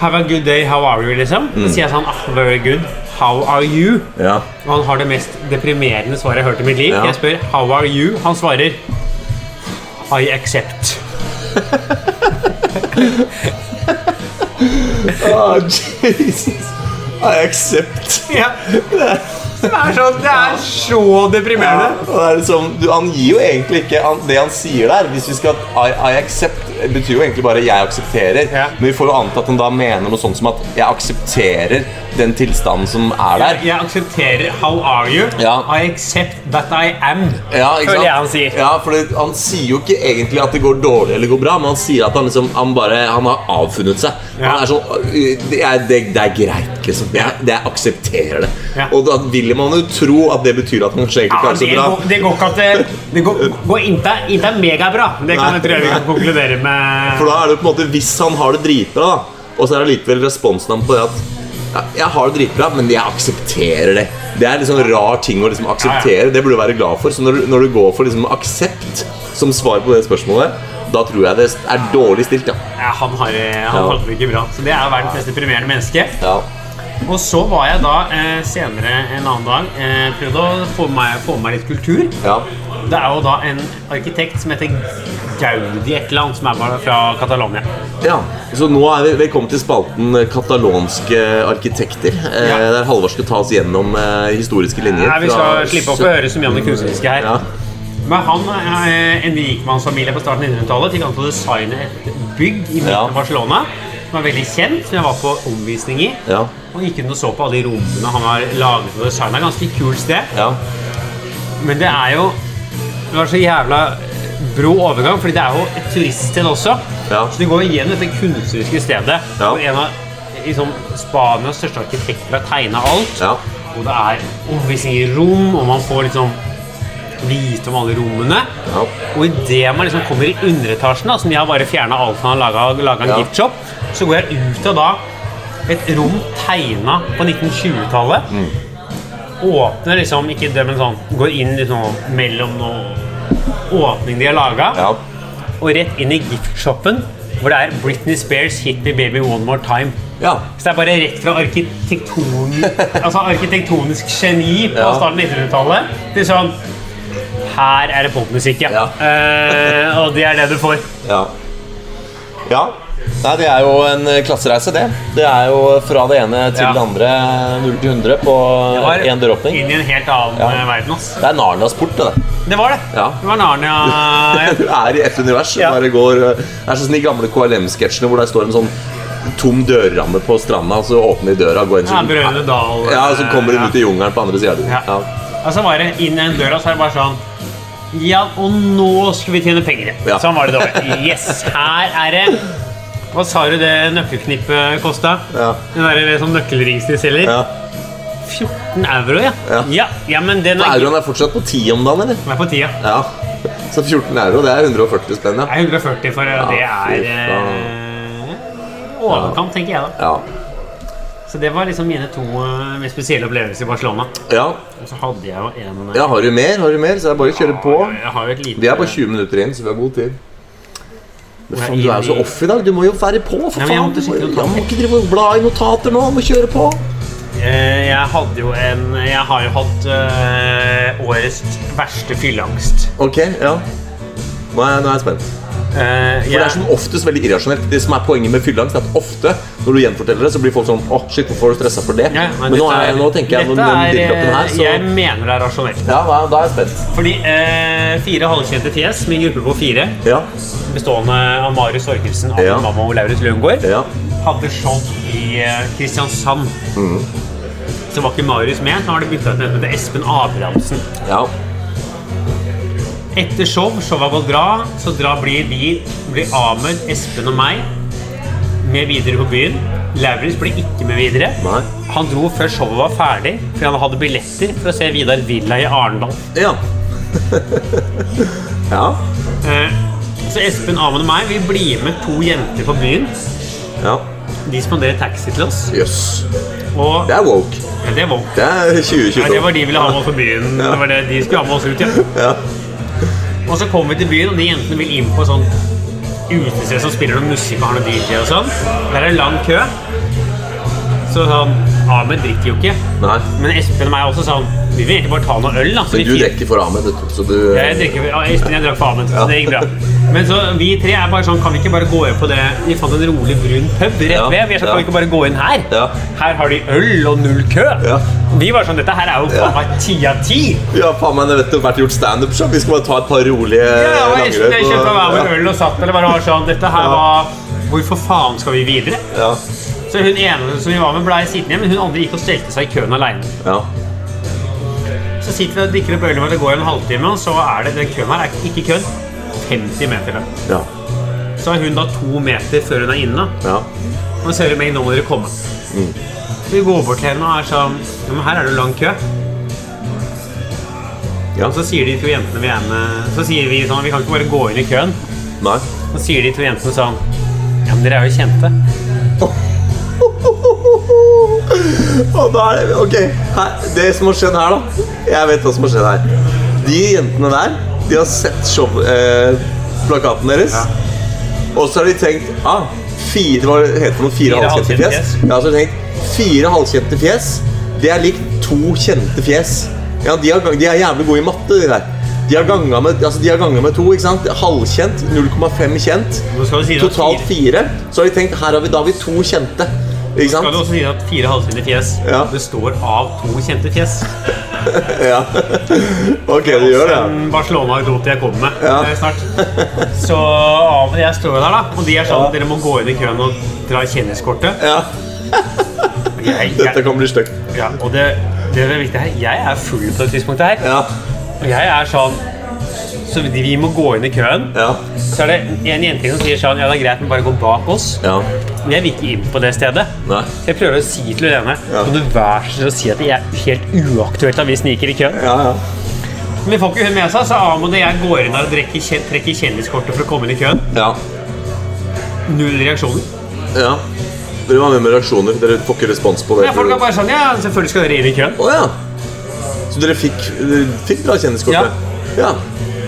Have a good day, how are you? liksom.
Mm.
Så sier jeg sånn ah, Very good, how are you?
ja.
Og han har det mest deprimerende svaret jeg har hørt i mitt liv.
Ja.
Jeg spør How are you? Han svarer I accept.
Ah, Jesus. I accept.
Ja. Det er sånn, det er så deprimerende.
Og det er liksom, du, han gir jo egentlig ikke han, det han sier der. Hvis vi skal I, I accept betyr jo egentlig bare 'jeg aksepterer'.
Ja.
Men vi får jo anta at han da mener noe sånt som at 'jeg aksepterer den tilstanden som er der'.
Jeg aksepterer How are you?
Ja.
I accept that I am.
Ja, ikke
Føler
sant?
jeg han sier.
Ja, for det, Han sier jo ikke egentlig at det går dårlig eller går bra, men han sier at han liksom Han bare Han har avfunnet seg.
Ja.
Han er sånn «Øh, det er, det, det er greit, liksom. Jeg, det, jeg aksepterer det.
Ja.
Og da vil man jo tro at det betyr at han kanskje
Ja,
egentlig klarer
det,
seg bra.
går, det går ikke at det, det går, går inte, inte er megabra. Det kan jeg
Nei.
tror jeg vi kan konkludere med.
For da er det jo på en måte Hvis han har det dritbra, da, og så er det likevel responsen hans på det at ja, jeg har det dritbra, men jeg aksepterer det. Det er liksom en rar ting å liksom akseptere. Det burde du være glad for. Så når, du- når du går for liksom aksept som svar på det spørsmålet, da tror jeg det er dårlig stilt, ja.
ja, han har eh, han holdt det ikke bra. Så det er verdens mest deprimerende menneske.
ja.
Og så var jeg da eh, senere en annen dag eh, prøvde å få meg, få meg litt kultur.
ja.
Det er jo da en arkitekt som heter Gaudi et eller annet, som er bare fra Catalonia.
Ja, Så nå er vi velkommen til spalten eh, Katalonske arkitekter. Eh,
Ja.
Der Halvard skal ta oss gjennom eh, historiske linjer.
Nei, vi
fra
skal slippe opp å høre så mye om det kunstneriske her.
Ja.
Men han er en rikmannsfamilie på starten av 1900-tallet. Fikk han til å designe et bygg i midten
Ja.
av Barcelona som er veldig kjent, som jeg var på omvisning i.
Ja.
Og gikk inn og så på alle de rommene han har laget og designa. Ganske kult sted.
Ja.
Men det er jo Det var så jævla brå overgang, fordi det er jo et turiststed også.
Ja.
Så det går igjen dette kunstneriske stedet.
Ja.
Hvor en av liksom, Spanias største arkitekter har tegna alt.
Ja.
Og det er omvisning i rom, og man får liksom vite om alle rommene.
Ja.
Og idet man liksom kommer i underetasjen, da, som jeg har bare fjerna alt han har laga, laga en
Ja.
gift shop, så går jeg ut av da et rom tegna på 1920-tallet.
Mm.
Åpner liksom ikke det, men sånn Går inn liksom mellom noe åpning de har laga,
Ja.
og rett inn i giftshoppen Hvor det er Britney Spears 'Hit Me Baby One More Time'.
Ja.
Så det er bare rett fra arkitekton, altså arkitektonisk geni på
Ja.
starten av 1900-tallet til sånn Her er det popmusikk, ja.
Ja.
Eh, og det er det du får.
Ja. ja. Nei, det er jo en eh, klassereise, det. Det er jo fra det ene til
Ja.
det andre. 0 til 100 på
var
én døråpning.
Inn i en helt annen
Ja.
eh, verden. ass.
Det er Narnias port, det der.
Det var det.
Ja.
Det var Narnia. ja.
Du er i ett univers.
Ja.
Bare går, eh, det er sånn som de gamle KLM-sketsjene hvor det står en sånn tom dørramme på stranda, og så åpner de døra og går inn
Ja, Brødrene Dal.
Ja, og så kommer hun
ja.
ut i jungelen på andre sida.
Ja.
Ja.
Og så var det inn den døra, så er det bare sånn Ja, og nå skal vi tjene penger.
Ja.
Sånn var det da. Yes, her er det. Hva sa du det nøkkelknippet kosta?
Ja.
Den derre sånn nøkkelringsen de selger?
Ja.
14 euro, ja.
Ja.
ja. ja, men den
Og
er,
Euroen er fortsatt på 10 om dagen, eller?
den er på tida.
Ja. Så 14 euro, det er 140 spenn, ja.
Det er 140 for eh,
fy
det er eh, overkant, tenker jeg da.
Ja.
Så det var liksom mine to eh, mest spesielle opplevelser i Barcelona.
ja.
Og så hadde jeg jo en
ja har du mer, har du mer, så er det bare å kjøre på.
Jeg har jo et lite
Vi er bare 20 minutter inn, så vi har god tid. Men
Hvor er
faen, Du er jo så
inn i-
off i dag. Du må jo være på, for
Nei, men jeg
faen. Du
måtte
må,
sitte og ta-
jeg må ikke drive og bla i notater nå. Du må kjøre på.
Eh, Jeg hadde jo en Jeg har jo hatt eh, årets verste fylleangst.
Ok, ja. Nå er, jeg- nå er jeg spent.
Eh,
For Det er
jeg,
som oftest veldig irrasjonelt. Det som er Poenget med fylleangst er at ofte når du gjenforteller det, så blir folk sånn Åh, shit, hvorfor er du stressa for det?
Ja,
men nå, er, nå tenker jeg
dette
når den
er,
dillknappen her,
eh,
så
Jeg mener det er rasjonelt.
Ja, da, da er jeg spent.
Fordi eh, fire halvkjente fjes, min gruppe på fire,
Ja.
bestående av Marius Orkelsen, Atle
Ja.
Mamma og Laurus Løvengård,
ja. Mm.
hadde show i eh, Kristiansand. Så var ikke Marius med, så har det bytta ut med Espen Abrahamsen.
Ja.
Etter show, showet har gått bra, så dra blir vi, blir Ahmed, Espen og meg med videre på byen. Lauritz ble ikke med videre.
Nei.
Han dro før showet var ferdig, fordi han hadde billetter for å se Vidar Villa i Arendal.
Ja. ja.
Eh, Så Espen, Ahmed og meg vi blir med to jenter på byen.
Ja.
De spanderer taxi til oss.
Jøss.
Og
Det er woke.
ja, det var
Det er
Nei, det
2022.
var de ville ha med oss på byen. Det var det de skulle ha med oss ut, ja.
Ja.
Og så kommer vi til byen, og de jentene vil inn på et sånt utested som spiller noe musikk og har noe DJ og sånn. Der er det lang kø. Så sånn Ahmed drikker jo ikke.
Nei.
Men Espen og meg er også sånn Vi vil egentlig bare ta noe øl, da. Så
Men
vi
du
fire-
drikker for Ahmed, vet du. Så du
Eh, jeg drikker, ja, Espen jeg drakk for Ahmed, så det gikk bra. Men så vi tre er bare sånn Kan vi ikke bare gå inn på det Vi fant en rolig, brun pub rett
Ja,
ved. Vi er sånn,
ja.
Kan vi ikke bare gå inn her?
Ja.
Her har de øl og null kø.
Ja.
Vi var sånn Dette her er jo
Ja.
faen meg ti av ti.
Vi har faen meg nettopp vært gjort standup-show. Vi skal bare ta et par rolige
Ja, ja, og Espen jeg kjøpte hver vår
ja.
øl og satt eller bare var sånn Dette her var Hvorfor faen skal vi videre?
Ja.
Så hun ene som vi var med, blei sittende, men hun andre gikk og stelte seg i køen aleine.
ja.
Så sitter vi og drikker opp ølen vår, det går en halvtime, og så er det den køen her er ikke køen. 50 meter lang.
Ja.
Så er hun da to meter før hun er inne. da.
Ja. Mm.
Og så hører vi meg, nå må dere komme. Så vi går bort til henne og er sånn Ja, men her er det jo lang kø.
ja.
Og så sier de to jentene vi er med Så sier vi sånn Vi kan ikke bare gå inn i køen.
Nei.
Så sier de to jentene sånn Ja, men dere er jo kjente.
Og da er det Ok, her, det som har skjedd her, da. Jeg vet hva som har skjedd her. De jentene der, de har sett show-plakaten deres. Og så har de tenkt ah, fire, Hva heter det for noe? Fire,
Fire
halvkjente
halvkjente
fjes?
fjes.
Ja, så har de tenkt Fire halvkjente fjes, det er likt to kjente fjes. Ja, de, har, de er jævlig gode i matte, de der. De har ganga med, altså, de har ganga med to, ikke sant? Halvkjent, 0,5 kjent.
Nå skal du si det at
Totalt
fire-
fire. Så har de tenkt her har vi, da har vi to kjente. Ikke
Skal
sant?
du også si at fire halvkjente fjes
Ja.
består av to kjente fjes?
Ja. Ok, det gjør det. ja.
En Barcelona-anekdote jeg kommer med
Ja.
eh, snart. Så av jeg står jo der, da. Og de er sånn
Ja.
Dere må gå inn i køen og dra kjendiskortet.
Ja,
Jeg,
dette
jeg,
kan bli stygt.
ja, og det, det er det viktige her. Jeg er full på det tidspunktet her.
Ja,
Og jeg er sånn Så vi vi må gå inn i køen.
ja,
Så er det en jente som sier sånn Ja, det er greit, men bare gå bak oss.
ja.
Men jeg vil ikke inn på det stedet.
Nei.
Så Jeg prøver å si til Irene
Ja.
Kan du være så snill å si at det er helt uaktuelt at vi sniker i køen?
Ja, ja.
Men vi får ikke hun med seg, så Amund og jeg går inn der og trekker, kjen- trekker kjendiskortet for å komme inn i køen.
Ja.
Null reaksjoner.
ja. Dere var med med reaksjoner. Dere får ikke respons på det.
Ja, folk er bare sånn Ja, selvfølgelig skal dere inn i køen.
Å ja. Så dere fikk, dere fikk bra kjendiskort?
Ja.
ja.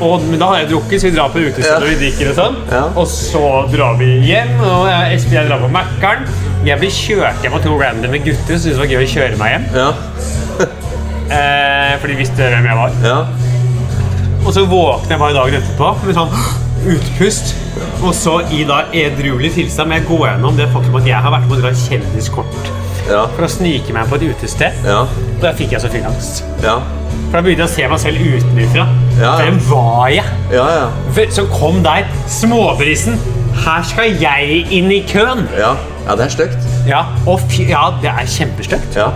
Og, men da har jeg drukket, så vi drar på utestedet og vi drikker og sånn.
Ja.
Og så drar vi hjem, og jeg- Espen og jeg drar på Mækkern. Jeg blir kjørt hjem av to randomme gutter som syntes det var gøy å kjøre meg hjem.
Ja.
Eh, for de visste hvem jeg var.
ja.
Og så våkner jeg bare dagen etterpå med sånn utpust. Og så i da edruelig tilstand må jeg gå gjennom det faktum at jeg har vært med å dra kjendiskort
Ja.
for å snike meg på et utested.
Ja.
Og da fikk jeg så fylleangst.
Ja.
For da begynte jeg å se meg selv utenfra.
Ja, ja.
Hvem var jeg?
Ja, ja.
Vel, Som kom der. Småbrisen. Her skal jeg inn i køen!
ja. ja det er stygt.
Ja, og fy, ja det er kjempestygt.
Ja.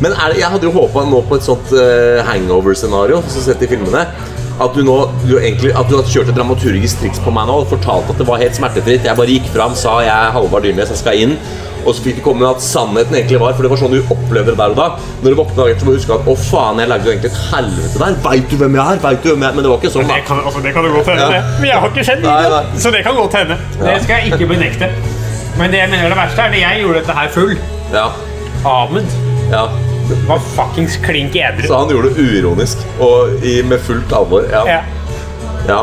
Men er det, jeg hadde jo håpa nå på et sånt eh, hangover-scenario, som sett i filmene. At du nå du egentlig, at du hadde kjørt et dramaturgisk triks på meg nå og fortalt at det var helt smertefritt. Jeg bare gikk fram, sa jeg er Halvard Dyrnes, jeg skal inn. Og så fikk du komme med at sannheten egentlig var, for det var sånn du opplevde det der og da. Når du våkna dagen etter, så må du huske at å faen, jeg lagde jo egentlig et helvete der. Veit du hvem jeg er? Vet du hvem jeg er? Men det var ikke sånn,
Det
da.
kan, altså, det kan jo godt hende.
Ja.
det. Men jeg har ikke kjent
Nei,
Ida,
nei.
så det kan godt hende. Det skal jeg ikke benekte. Men det jeg mener er det verste er at jeg gjorde dette her full.
Ja.
Ahmed
ja.
var fuckings klink edru.
Så han gjorde det uironisk og i, med fullt alvor. Ja.
Ja.
Ja.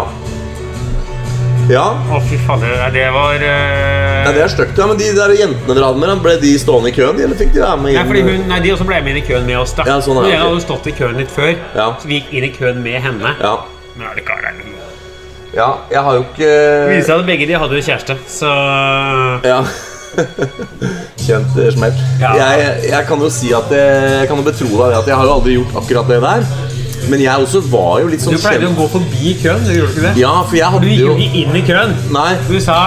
ja.
Å, fy fader. nei, Det var eh,
Ja, det er støkt, ja, men de der jentene dere hadde med, da, ble de stående i køen, eller fikk de være med inn?
Nei, fordi hun, nei, De også ble med inn i køen med oss. da
Ja, sånn er
Men
det.
Jeg hadde jo stått i køen litt før,
Ja.
så vi gikk inn i køen med henne.
Ja.
Men er det ikke det
ja, jeg har jo ikke
viser seg at begge de hadde jo kjæreste, så
Ja. Kjent eh, smell.
Ja.
Jeg, jeg kan jo si at jeg, jeg kan jo betro deg det at jeg har jo aldri gjort akkurat det der. Men jeg også var jo litt
Du
sånn
pleide å
kjent...
gå forbi køen, du gjorde ikke det?
Ja, for jeg
Du
hadde
gikk jo
jo
ikke inn i køen.
Nei.
Du sa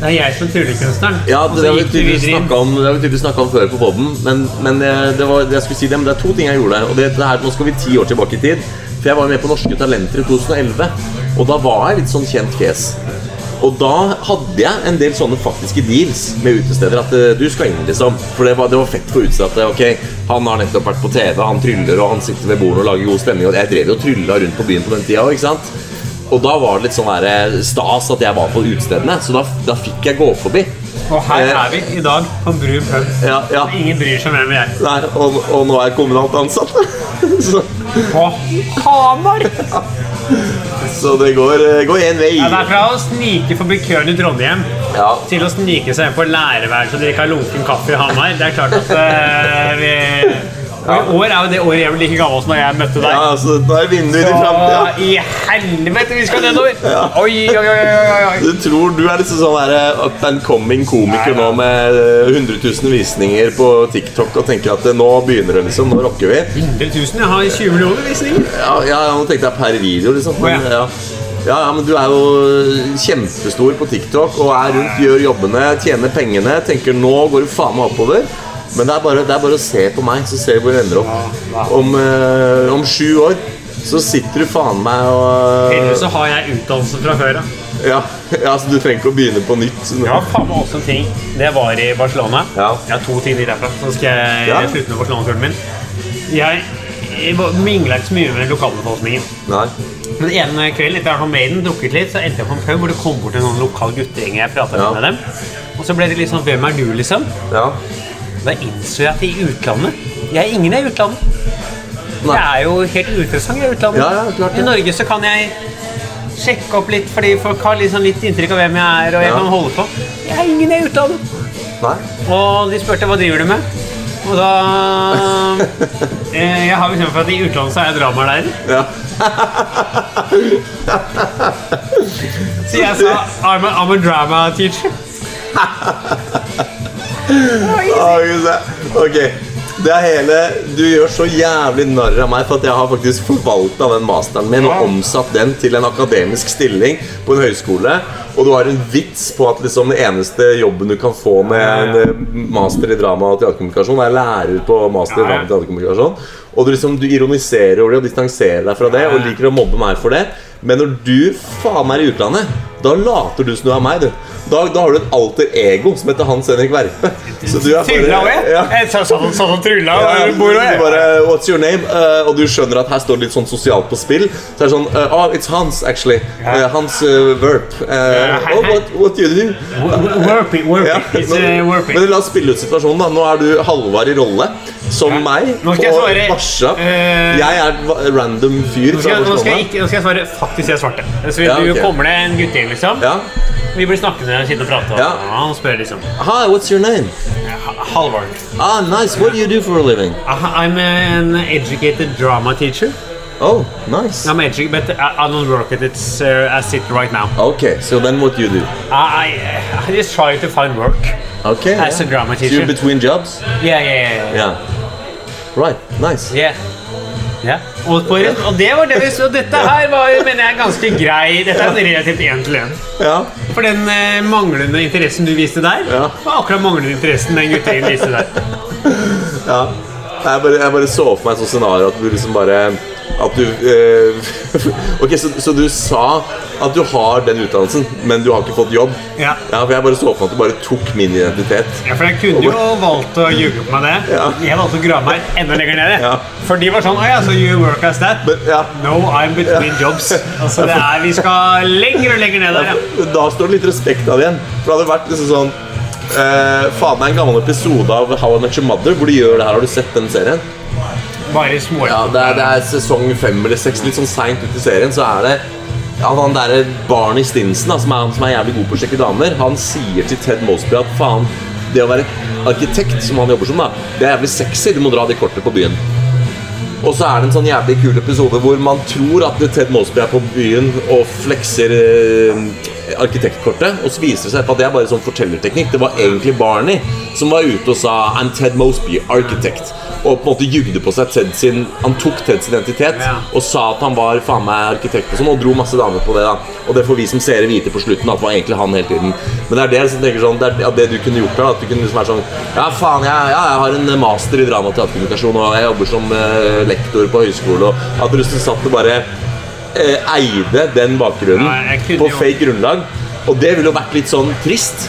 det er jeg som er tryllekunstneren.
Ja,
Og
det,
så
har vi
gikk du
tydeligvis
videre inn.
snakket om, det har vi tydeligvis snakka om før på poden, men, men eh, det, var, det jeg skulle si det, men det er to ting jeg gjorde. Og det, det her, Nå skal vi ti år tilbake i tid. For jeg var jo med på Norske Talenter i 2011, og da var jeg litt sånn kjent fjes. Og da hadde jeg en del sånne faktiske deals med utesteder. At eh, du skal inn, liksom. For det var, det var fett for utestedet. at, eh, Ok, han har nettopp vært på TV, han tryller, og han sitter ved bordet og lager god stemning. Og jeg drev jo og trylla rundt på byen på den tida òg, ikke sant. Og da var det litt sånn der, eh, stas at jeg var på utestedene, så da, da fikk jeg gå forbi.
Og her
Eh,
er vi i dag på en brun pub.
Ja, ja.
Ingen bryr seg om hvem vi er.
Nei, og, og nå er jeg kommunalt ansatt. Så,
På Hamar!
så det går, eh, går en vei.
Ja, det er fra å snike forbi køen i Trondheim
Ja,
til å snike seg inn på lærerværelset og drikke lunken kaffe i Hamar. Det er klart at eh, vi Og I år er jo det året jeg ble like gammel som da jeg møtte deg.
ja så nå er vinduet inn i
Å,
framtida.
I helvete, vi skal nedover! Oi, oi, oi, oi, oi, oi.
Du tror du er liksom sånn der eh, up and coming komiker nå med eh, 100 000 visninger på TikTok og tenker at eh, nå begynner det, liksom. Nå rocker vi.
100 000? Jeg har 20 millioner visninger.
Ja, ja, ja nå tenkte jeg per video, liksom. Men,
Å, ja.
ja. Ja, ja, men du er jo kjempestor på TikTok og er rundt, gjør jobbene, tjener pengene. Tenker nå går du faen meg oppover. Men det er, bare, det er bare å se på meg, så ser vi hvor det ender opp. Om, eh, om sju år så sitter du faen meg
Ellers
og
så har jeg utdannelse fra før av.
Ja, ja så du trenger ikke å begynne på nytt.
Jeg har faen meg også en ting. Det var i Barcelona.
Ja.
Jeg har to timer derfra. Så skal jeg
Ja.
slutte med Barcelona-turen min. Jeg, jeg var- minglet ikke så mye med lokalbefolkningen.
Nei.
Men en kveld etter at Maiden drukket litt, så endte jeg på en pub hvor det kom bort en sånn lokal guttegjeng. Jeg pratet
Ja.
med dem. Og så ble det litt sånn Hvem er du, liksom?
Ja.
Da innså jeg at i utlandet Jeg er ingen i utlandet.
Nei.
Jeg er jo helt uinteressant i utlandet.
Ja, ja, klart det.
I Norge så kan jeg sjekke opp litt, fordi folk har liksom litt inntrykk av hvem jeg er, og jeg
Ja.
kan holde på. Jeg er ingen i utlandet.
Nei.
Og de spurte hva driver du med. Og da eh, Jeg har bestemt for at i utlandet så er jeg dramalærer.
Ja.
Så jeg sa I'm a, I'm a drama teacher.
Ah, Gud, det- Ok. Det er hele Du gjør så jævlig narr av meg for at jeg har faktisk forvalta den masteren min og omsatt den til en akademisk stilling på en høyskole. Og du har en vits på at liksom den eneste jobben du kan få med en eh, master i drama og teaterkommunikasjon, er lærer på master i drama og teaterkommunikasjon. Og du liksom du ironiserer over det og distanserer deg fra det og liker å mobbe meg for det. Men når du faen meg er i utlandet, da later du som du er meg, du. Da, da har du et alter ego som heter Hans Henrik Verpe. Så du er
Trylla òg,
ja.
jeg. Sånn som sånn, trylla
Ja,
over
du
bordet. jeg.
bare, What's your name? Eh, og du skjønner at her står det litt sånn sosialt på spill. Så er det sånn eh, Oh, it's Hans, actually. Eh, Hans eh, Verp. Eh,
hei,
oh,
hei.
what, what do you do?
Warpy, warpy.
Ja,
It's, eh,
men,
warpy.
men la oss spille ut situasjonen. da Nå er du Halvard i rolle. som meg
Nå skal jeg
på
svare,
Barsa.
eh,
jeg er en va- random fyr
Nå skal,
fra
jeg, nå, skal jeg
Barcelona.
ikke, nå skal jeg svare faktisk jeg er svarte. Så vi,
Ja, ok.
Du kommer det en guttegjeng, liksom.
Ja.
Vi blir snakkende og sitter og prater.
Ja.
Og han spør liksom
Hi, what's your name?
"Ha- Halvard.
Ah, nice. What do you do for a living?
I- I'm an educated drama teacher.
Oh, nice.
I'm educated, but I I don't work at it uh, as it right now.
Okay, so then what do you do?
I, I, I just try to find work.
Okay.
As a drama
So you're
teacher.
between jobs?
Yeah, yeah, yeah.
Yeah. Right. Nice.
yeah. Ja. Og, på, og det var det vi så. Dette her var mener jeg ganske grei. Dette er en relativt én til én.
Ja.
For den eh, manglende interessen du viste der,
Ja.
var akkurat manglende interessen den guttingen viste der.
ja. Jeg, bare, jeg bare så for meg et sånt scenario at du liksom bare At du eh, Ok, så, så du sa at du har den utdannelsen, men du har ikke fått jobb?
Ja.
For jeg bare så for meg at du bare tok min identitet.
Ja, for jeg kunne jo valgt å ljuge på meg det.
Ja.
Jeg valgte å grave meg enda lenger nede.
Ja.
For de var sånn Å ja, så you work as that?
Men ja.
No, I'm between jobs. Altså, det er, vi skal lenger og lenger ned der, ja.
Da står det litt respekt av det igjen. For det hadde vært liksom sånn eh, Faen, det er en gammel episode av How I Met Your Mother hvor de gjør det her. Har du sett den serien?
Bare i små
Ja, det er, det er sesong fem eller seks, litt sånn seint ut i serien, så er det ja, han derre Barney Stinson, da, som, er, han som er jævlig god på å sjekke damer, han sier til Ted Mosby at faen, det å være arkitekt, som han jobber som, da, det er jævlig sexy. Du må dra det kortet på byen. Og så er det en sånn jævlig kul episode hvor man tror at Ted Mosby er på byen og flekser eh, arkitektkortet, og så viser det seg at det er bare sånn fortellerteknikk. Det var egentlig Barney som var ute og sa 'I'm Ted Mosby, arkitekt', og på en måte jugde på seg Ted sin Han tok Ted sin identitet
Ja.
og sa at han var faen meg arkitekt og sånn, og dro masse damer på det. da Og det får vi som seere vite på slutten at det var egentlig han hele tiden. Men det er det jeg liksom tenker sånn Det er ja, det du kunne gjort her. da, At du kunne liksom være sånn Ja, faen, jeg, ja, jeg har en eh, master i drama- og teaterkommunikasjon, og jeg jobber som eh, lektor på høyskole, og at du liksom satt og bare eh, eide den bakgrunnen
Ja, jeg kunne
på
jo-
fake grunnlag. Og det ville jo vært litt sånn trist.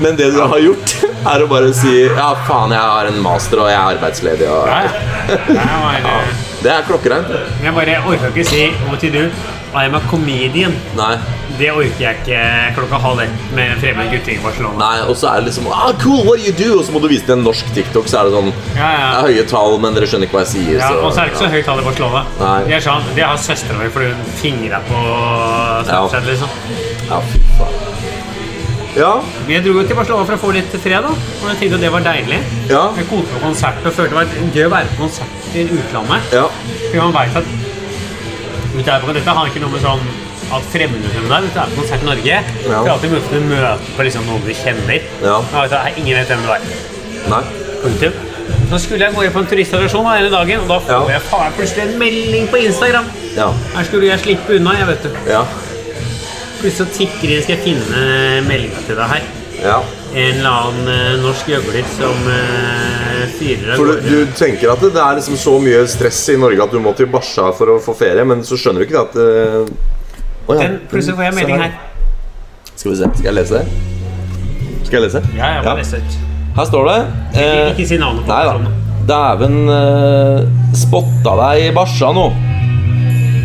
Men det du har gjort, er å bare si Ja, faen, jeg har en master, og jeg er arbeidsledig, og
Ja, ja. Jeg bare-
Det er klokkereint.
Jeg bare orker ikke si what you do. I'm a comedian.
Nei.
Det orker jeg ikke klokka halv ett med en fremmed gutting i Barcelona.
Nei, og så er det liksom ah, cool, what do you do? Og så må du vise til en norsk TikTok, så er det sånn
Ja, ja.
Det er høye tall, men dere skjønner ikke hva jeg sier.
Ja,
så,
og så er det ikke så høyt tall i Barcelona.
Nei.
Det er sånn, det har søstera mi fordi hun fingra på Snapchat. liksom.
Ja, fy faen. Ja,
Men jeg dro jo til Barcelona for å få litt fred, da. Og jeg tenkte at det var deilig.
ja,
Jeg koste meg på konsert og følte det var gøy å være på konsert i utlandet.
ja.
For man vet at dette, er på, dette har ikke noe med sånn at fremmede som der, dette er på konsert i Norge. Du
Ja.
har alltid møte, møte på liksom noen du kjenner.
Ja.
Jeg vet at ingen vet hvem du er.
Nei.
Punktum. Så skulle jeg gå inn på en turistattraksjon da, hele dagen, og da får
Ja.
jeg faen plutselig en melding på Instagram.
Ja.
Her skulle jeg slippe unna, jeg vet du.
Ja.
Plutselig så tikker det inn, skal jeg finne meldinga til deg her.
ja.
En eller annen eh, norsk gjøgler som eh, fyrer av
For
gårde.
du, du tenker at det, det er liksom så mye stress i Norge at du må til Barca for å få ferie, men så skjønner du ikke det at eh, å ja.
Den, plutselig får jeg en
Se
melding her.
Skal vi se. Skal jeg lese det? Skal jeg lese?
Ja, jeg må lese ut.
Her står det eh,
Ikke si navnet på
Nei da.
personen.
Dæven eh, spotta deg i barsa nå.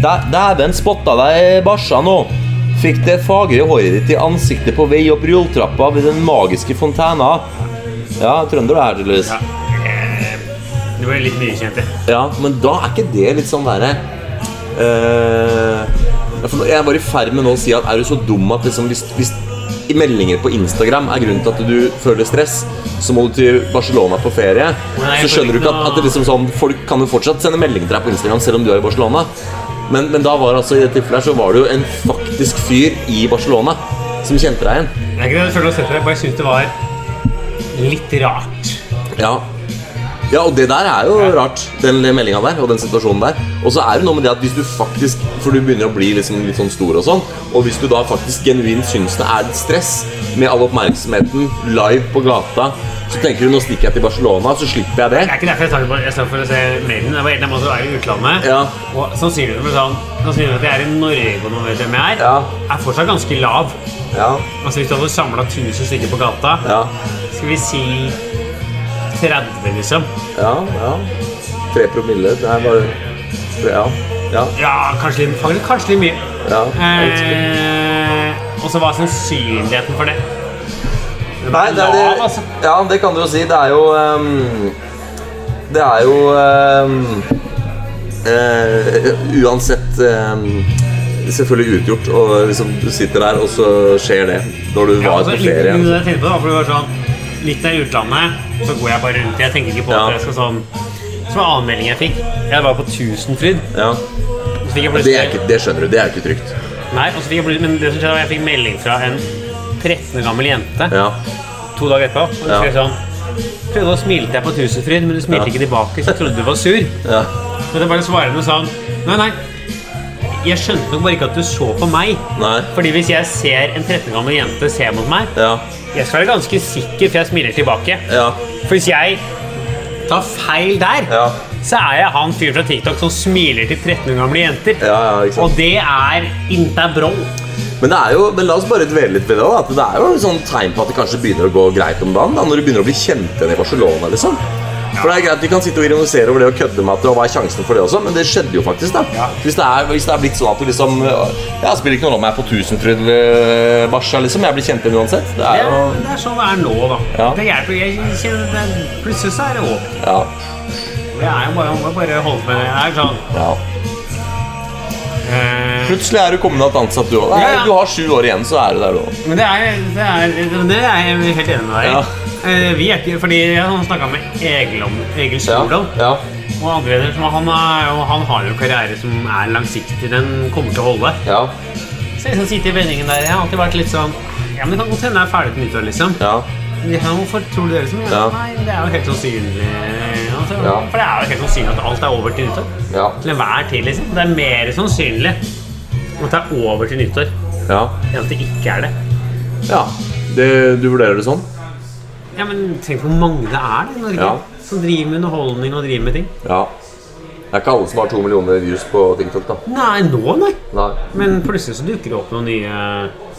Dæ- Dæven spotta deg i barsa nå. Fikk det fagre håret ditt i ansiktet på vei opp rulletrappa ved den magiske fontena. Ja, trønder du er, tydeligvis.
Ja. eh, Det ble litt mye kjent, det.
Ja, men da er ikke det litt sånn derre eh, ja, for nå- Jeg var i ferd med nå å si at er du så dum at liksom, hvis, hvis i meldinger på Instagram er grunnen til at du føler stress, så må du til Barcelona på ferie.
Nei,
så
jeg føler
skjønner du ikke
ikke
at,
noe-
at det liksom sånn, folk kan jo fortsatt sende melding til deg på Instagram selv om du er i Barcelona. Men, men da var altså, i det tilfellet her, så var det jo en faktisk fyr i Barcelona som kjente deg igjen.
Det er ikke det jeg føler å sette det, bare jeg syns det var litt rart.
Ja. ja, og det der er jo rart, den meldinga der og den situasjonen der. Og så er det noe med det at hvis du faktisk For du begynner å bli liksom litt sånn stor og sånn. Og hvis du da faktisk genuint syns det er litt stress med all oppmerksomheten live på gata, så tenker du nå stikker jeg til Barcelona, så slipper jeg
Det
det.
er ikke derfor jeg startet på Jeg startet for å se mailen. Det var en eller annen måte å være i utlandet.
Ja.
Og sannsynligheten for sånn, sannsynligheten at jeg er i Norge og noen vet hvem jeg er,
Ja.
er fortsatt ganske lav.
Ja.
Altså Hvis du hadde samla 1000 stykker på gata,
Ja.
skal vi si 30, liksom.
Ja. ja. Tre promille. Det er bare tre, Ja. Ja.
Ja, kanskje litt, faktisk kanskje litt mye.
ja. Jeg vet ikke.
Eh, og så var sannsynligheten for det
Nei, det er
Lav,
det,
altså.
ja, det kan du jo si. Det er jo ehm, det er jo eh, eh, Uansett eh, Selvfølgelig utgjort, og liksom, du sitter der, og så skjer det når du var
altså,
på
litt-
ferie.
litt det jeg tenkte på da, for det var sånn Litt av utlandet, så går jeg bare rundt. Jeg tenker ikke på
Ja.
at jeg skal sånn Som var annen melding jeg fikk. Jeg var på Tusenfryd.
Ja.
Så fikk jeg
Det, er
plutselig
ikke, det skjønner du. Det er jo ikke trygt.
Nei, og så fikk jeg plutselig Men det som skjedde, var at jeg fikk melding fra en 13 år gammel jente
Ja.
to dager etterpå. Og hun
Ja.
skrev sånn Prøvde å smile til deg på Tusenfryd, men du smilte
Ja.
ikke tilbake, så jeg trodde du var sur.
Ja.
Men det bare svarer noe sånn Nei, nei. Jeg skjønte nok bare ikke at du så på meg.
Nei.
Fordi hvis jeg ser en 13 år gammel jente se mot meg,
Ja.
jeg skal være ganske sikker, for jeg smiler tilbake.
Ja.
For hvis jeg tar feil der,
Ja.
så er jeg han fyren fra TikTok som smiler til 13 år gamle jenter.
Ja, ja, ikke sant.
Og det er interbro.
Men, det er jo, men la oss bare dvele litt ved det. da, At det er jo sånn tegn på at det kanskje begynner å gå greit om dagen. da, Når du begynner å bli kjent igjen i Barcelona. liksom. For det er greit, Vi kan sitte og ironisere over det og kødde med at det, og hva er sjansen for det også, men det skjedde jo faktisk. da. Hvis, det er, hvis det er blitt sånn at du liksom Jeg spiller ikke noen rolle om jeg er på Tusenfryd eller Barca, liksom. Jeg blir kjent igjen uansett. Det
Det
er jo
er, det er sånn det er nå, da.
Ja.
Det hjelper. Jeg kjenner det er- Plutselig så er det over.
Ja.
Det er jo bare, man må bare holde med det. Det er sånn
ja.
eh,
Plutselig er du kommunalt ansatt, du òg.
Ja, ja.
Du har sju år igjen, så er du der, du òg.
Men det er, det, er, det er jeg helt enig med deg i.
Ja.
Eh, Vi er ikke Fordi jeg har snakka med Egil om Egil
Ja.
Stordal.
Ja.
Og andre leder, som han, er, jo- han har jo en karriere som er langsiktig. Den kommer til å holde.
Ja.
Så jeg liksom sitter i vendingen der. Jeg har alltid vært litt sånn Ja, men det kan godt hende jeg er ferdig til nyttår, liksom.
Ja.
Ja, hvorfor tror du det, liksom? Ja.
Ja.
Nei, det er jo helt sannsynlig. Altså,
Ja.
For det er jo helt sannsynlig at alt er over til nyttår.
Ja.
Til enhver tid, liksom. Det er mer sannsynlig at det er over til nyttår
ja.
enn at det ikke er det.
ja. Det, du vurderer det sånn?
Ja, men tenk hvor mange det er det i Norge
Ja.
som driver med underholdning og driver med ting.
Ja. Det er ikke alle som har to millioner views på TikTok, da.
Nei, nå, nei.
Nei.
Men plutselig så dukker det opp noen nye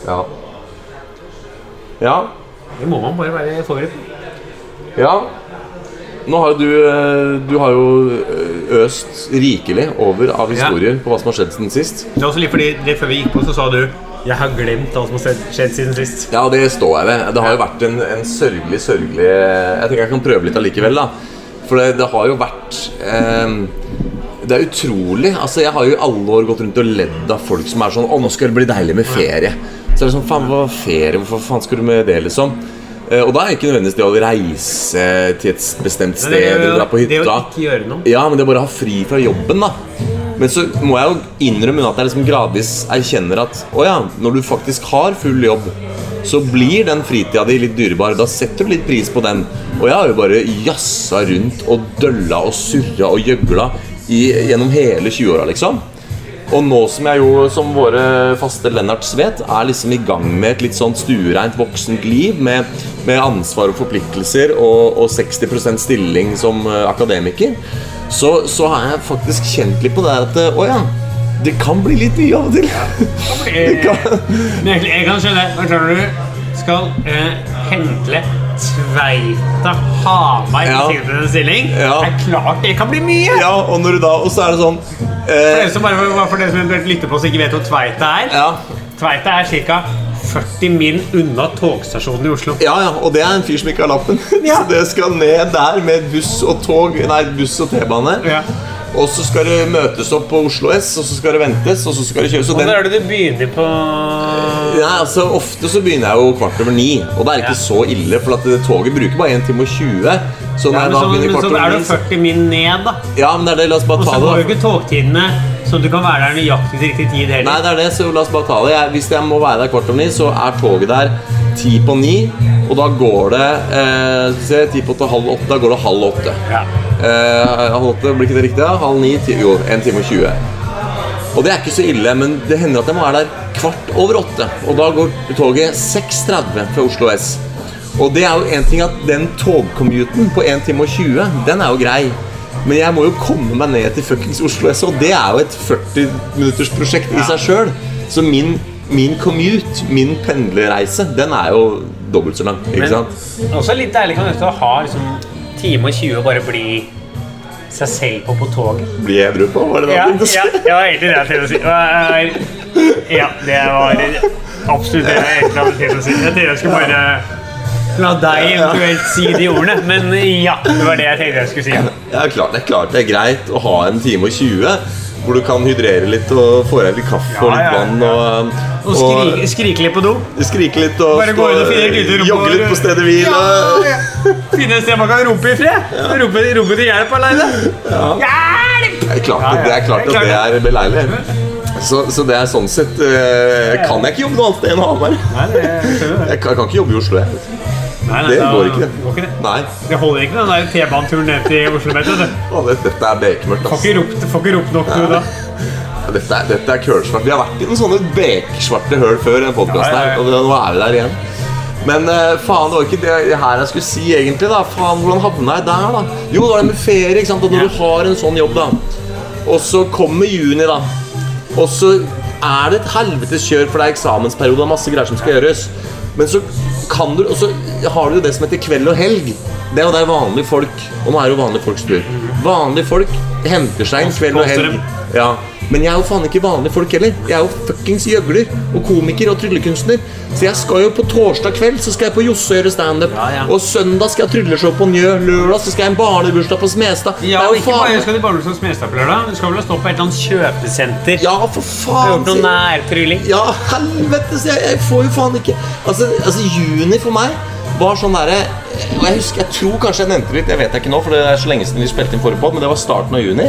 Ja. Ja.
Det må man bare være forberedt på.
ja. Nå har jo du eh, Du har jo eh, øst rikelig over av historier på hva som har skjedd siden sist.
Det er også litt fordi rett før vi gikk på, så sa du jeg har glemt alt som har skjedd- skjedd siden sist.
Ja, det står jeg ved. Det har jo vært en, en sørgelig, sørgelig Jeg tenker jeg kan prøve litt allikevel, da. For det, det har jo vært ehm, Det er utrolig. Altså, jeg har jo i alle år gått rundt og ledd av folk som er sånn Å, nå skal det bli deilig med ferie. Så er det sånn Faen, hva er ferie? Hvorfor faen skal du med det, liksom? Eh, Og da er ikke nødvendigvis det å reise til et bestemt sted eller dra på hytta.
det å ikke gjøre noe.
Ja, men det er bare å ha fri fra jobben, da. Men så må jeg jo innrømme at jeg liksom gradvis erkjenner at å ja, når du faktisk har full jobb, så blir den fritida di litt dyrebar. Da setter du litt pris på den. Og jeg har jo bare jazza rundt og dølla og surra og gjøgla i, gjennom hele 20-åra, liksom. Og nå som jeg jo, som våre faste Lennarts vet, er liksom i gang med et litt sånn stuereint voksent liv med, med ansvar og forpliktelser og, og 60 stilling som eh, akademiker, så, så har jeg faktisk kjent litt på det her at eh, Å ja, det kan bli litt mye av og til. Det kan,
Men egentlig, jeg kan skjønne Hva tror du skal eh, pendle Tveita Hamar
Ja.
i sin stilling?
Ja.
Det er klart det kan bli mye!
ja, og når du da Og så er det sånn
For
eh,
dere som, bare, bare for dere som eventuelt lytter på oss og ikke vet hvor Tveita er
ja,
Tveita er ca. 40 mil unna togstasjonen i Oslo.
ja, ja, og det er en fyr som ikke har lappen.
Ja.
Så det skal ned der med buss og tog Nei, buss og T-bane.
Ja.
Og så skal det møtes opp på Oslo S, og så skal det ventes, og så skal det kjøres. Og
Hvor
den,
er det du begynner på
nei, altså, ofte så begynner jeg jo kvart over ni, og det er ikke
Ja.
så ille, for at det, toget bruker bare 1 time og 20. Så når
Ja,
jeg
men
da
så,
begynner
men så
kvart
er
over
det
ni så-
40 mil ned, da.
Ja, men det er det, la oss bare
Og
ta
så går jo
det. da.
ikke togtidene, så du kan være der nøyaktig til riktig tid
Nei,
heller.
det er det, så la oss bare ta det. Jeg, hvis jeg må være der kvart over ni, så er toget der ti på ni, og da går det eh, skal vi se, ti på åtte, halv åtte, da går det halv åtte.
Ja.
Eh, halv åtte, blir ikke det riktig? da? Halv ni, ti, jo, 1 time og 20. Og det er ikke så ille, men det hender at jeg må være der kvart over åtte. Og da går toget 6.30 fra Oslo S. Og det er jo en ting at den togcommuten på 1 time og 20, den er jo grei. Men jeg må jo komme meg ned til fuckings Oslo S, og det er jo et 40 minutters prosjekt i seg sjøl. Så min, min commute, min pendlerreise, den er jo dobbelt så lang. ikke
Men
sant?
også litt deilig kan det være å ha liksom, time og 20 og bare bli seg selv på på toget.
Blir jeg edru på? Var det det
Ja,
jeg tenkte å si?
ja, det var egentlig det jeg tenkte å si. Det var- Ja, det var absolutt det jeg egentlig hadde tenkt å si. Jeg tenkte jeg skulle bare La deg eventuelt si de ordene, men ja, det var det jeg tenkte jeg skulle si.
Ja, klart, det er klart det er greit å ha en time og 20 hvor du kan hydrere litt og få deg litt kaffe og
Ja,
litt
ja,
vann. Og,
Og skrike, skrike litt på do.
skrike litt og
Bare gå inn og finne litt rom
jogge
og-
litt på stedet hvil. og-
Ja, Finne et sted man kan rope i fred. Rope, rope til hjelp aleine. Hjelp!
Det er klart,
Ja, ja.
det er klart at det er beleilig. Så, så det er sånn sett eh, Kan jeg ikke jobbe noe annet sted enn Hamar?
Nei, det skjønner jeg.
Jeg kan, jeg kan ikke jobbe i Oslo. Jeg.
Nei, nei,
Det
da-
går ikke.
går ikke det.
Nei.
Det holder ikke den der T-baneturen ned til Oslo. Vet du. Du
Å, det- Dette er bekmørkt.
Får
ass.
ikke ropt, får ikke ropt nok du, da.
Dette er, dette er kølsvart. Vi har vært i noen sånne beksvarte høl før. i denne podcasten
Ja, ja,
her,
ja.
og det- nå er vi der igjen. Men eh, faen, det var ikke det her jeg skulle si, egentlig. da Faen, Hvordan havna jeg der, da? Jo, det var det med ferie. ikke sant? Og når du har en sånn jobb, da og så kommer juni, da og så er det et helvetes kjør, for det er eksamensperiode og masse greier som skal gjøres. Men så kan du, og så har du jo det som heter kveld og helg. Det er jo der vanlige folk Og nå er det jo vanlige folks tur. Vanlige folk henter seg en kveld og helg. Ja. Men jeg er jo faen ikke vanlige folk heller. Jeg er jo fuckings gjøgler og komiker og tryllekunstner. Så jeg skal jo på torsdag kveld Så skal jeg på Josse og gjøre standup.
ja.
Og søndag skal jeg ha trylleshow på Njø. Lørdag så skal jeg ha en barnebursdag på Smestad. Det
Ja,
er
og
jo
ikke
faen-
bare skal du bare som smestapplørdag. Du skal vel stå på et eller annet kjøpesenter.
Ja, for faen!
Gjort noe
sier-
nærtrylling.
Ja, helvetes! Jeg, jeg får jo faen ikke altså, altså, juni for meg var sånn derre Og jeg husker, jeg tror kanskje jeg nevnte det litt, jeg vet ikke nå, for det er så lenge siden vi spilte inn forrige podd, men det var starten av juni.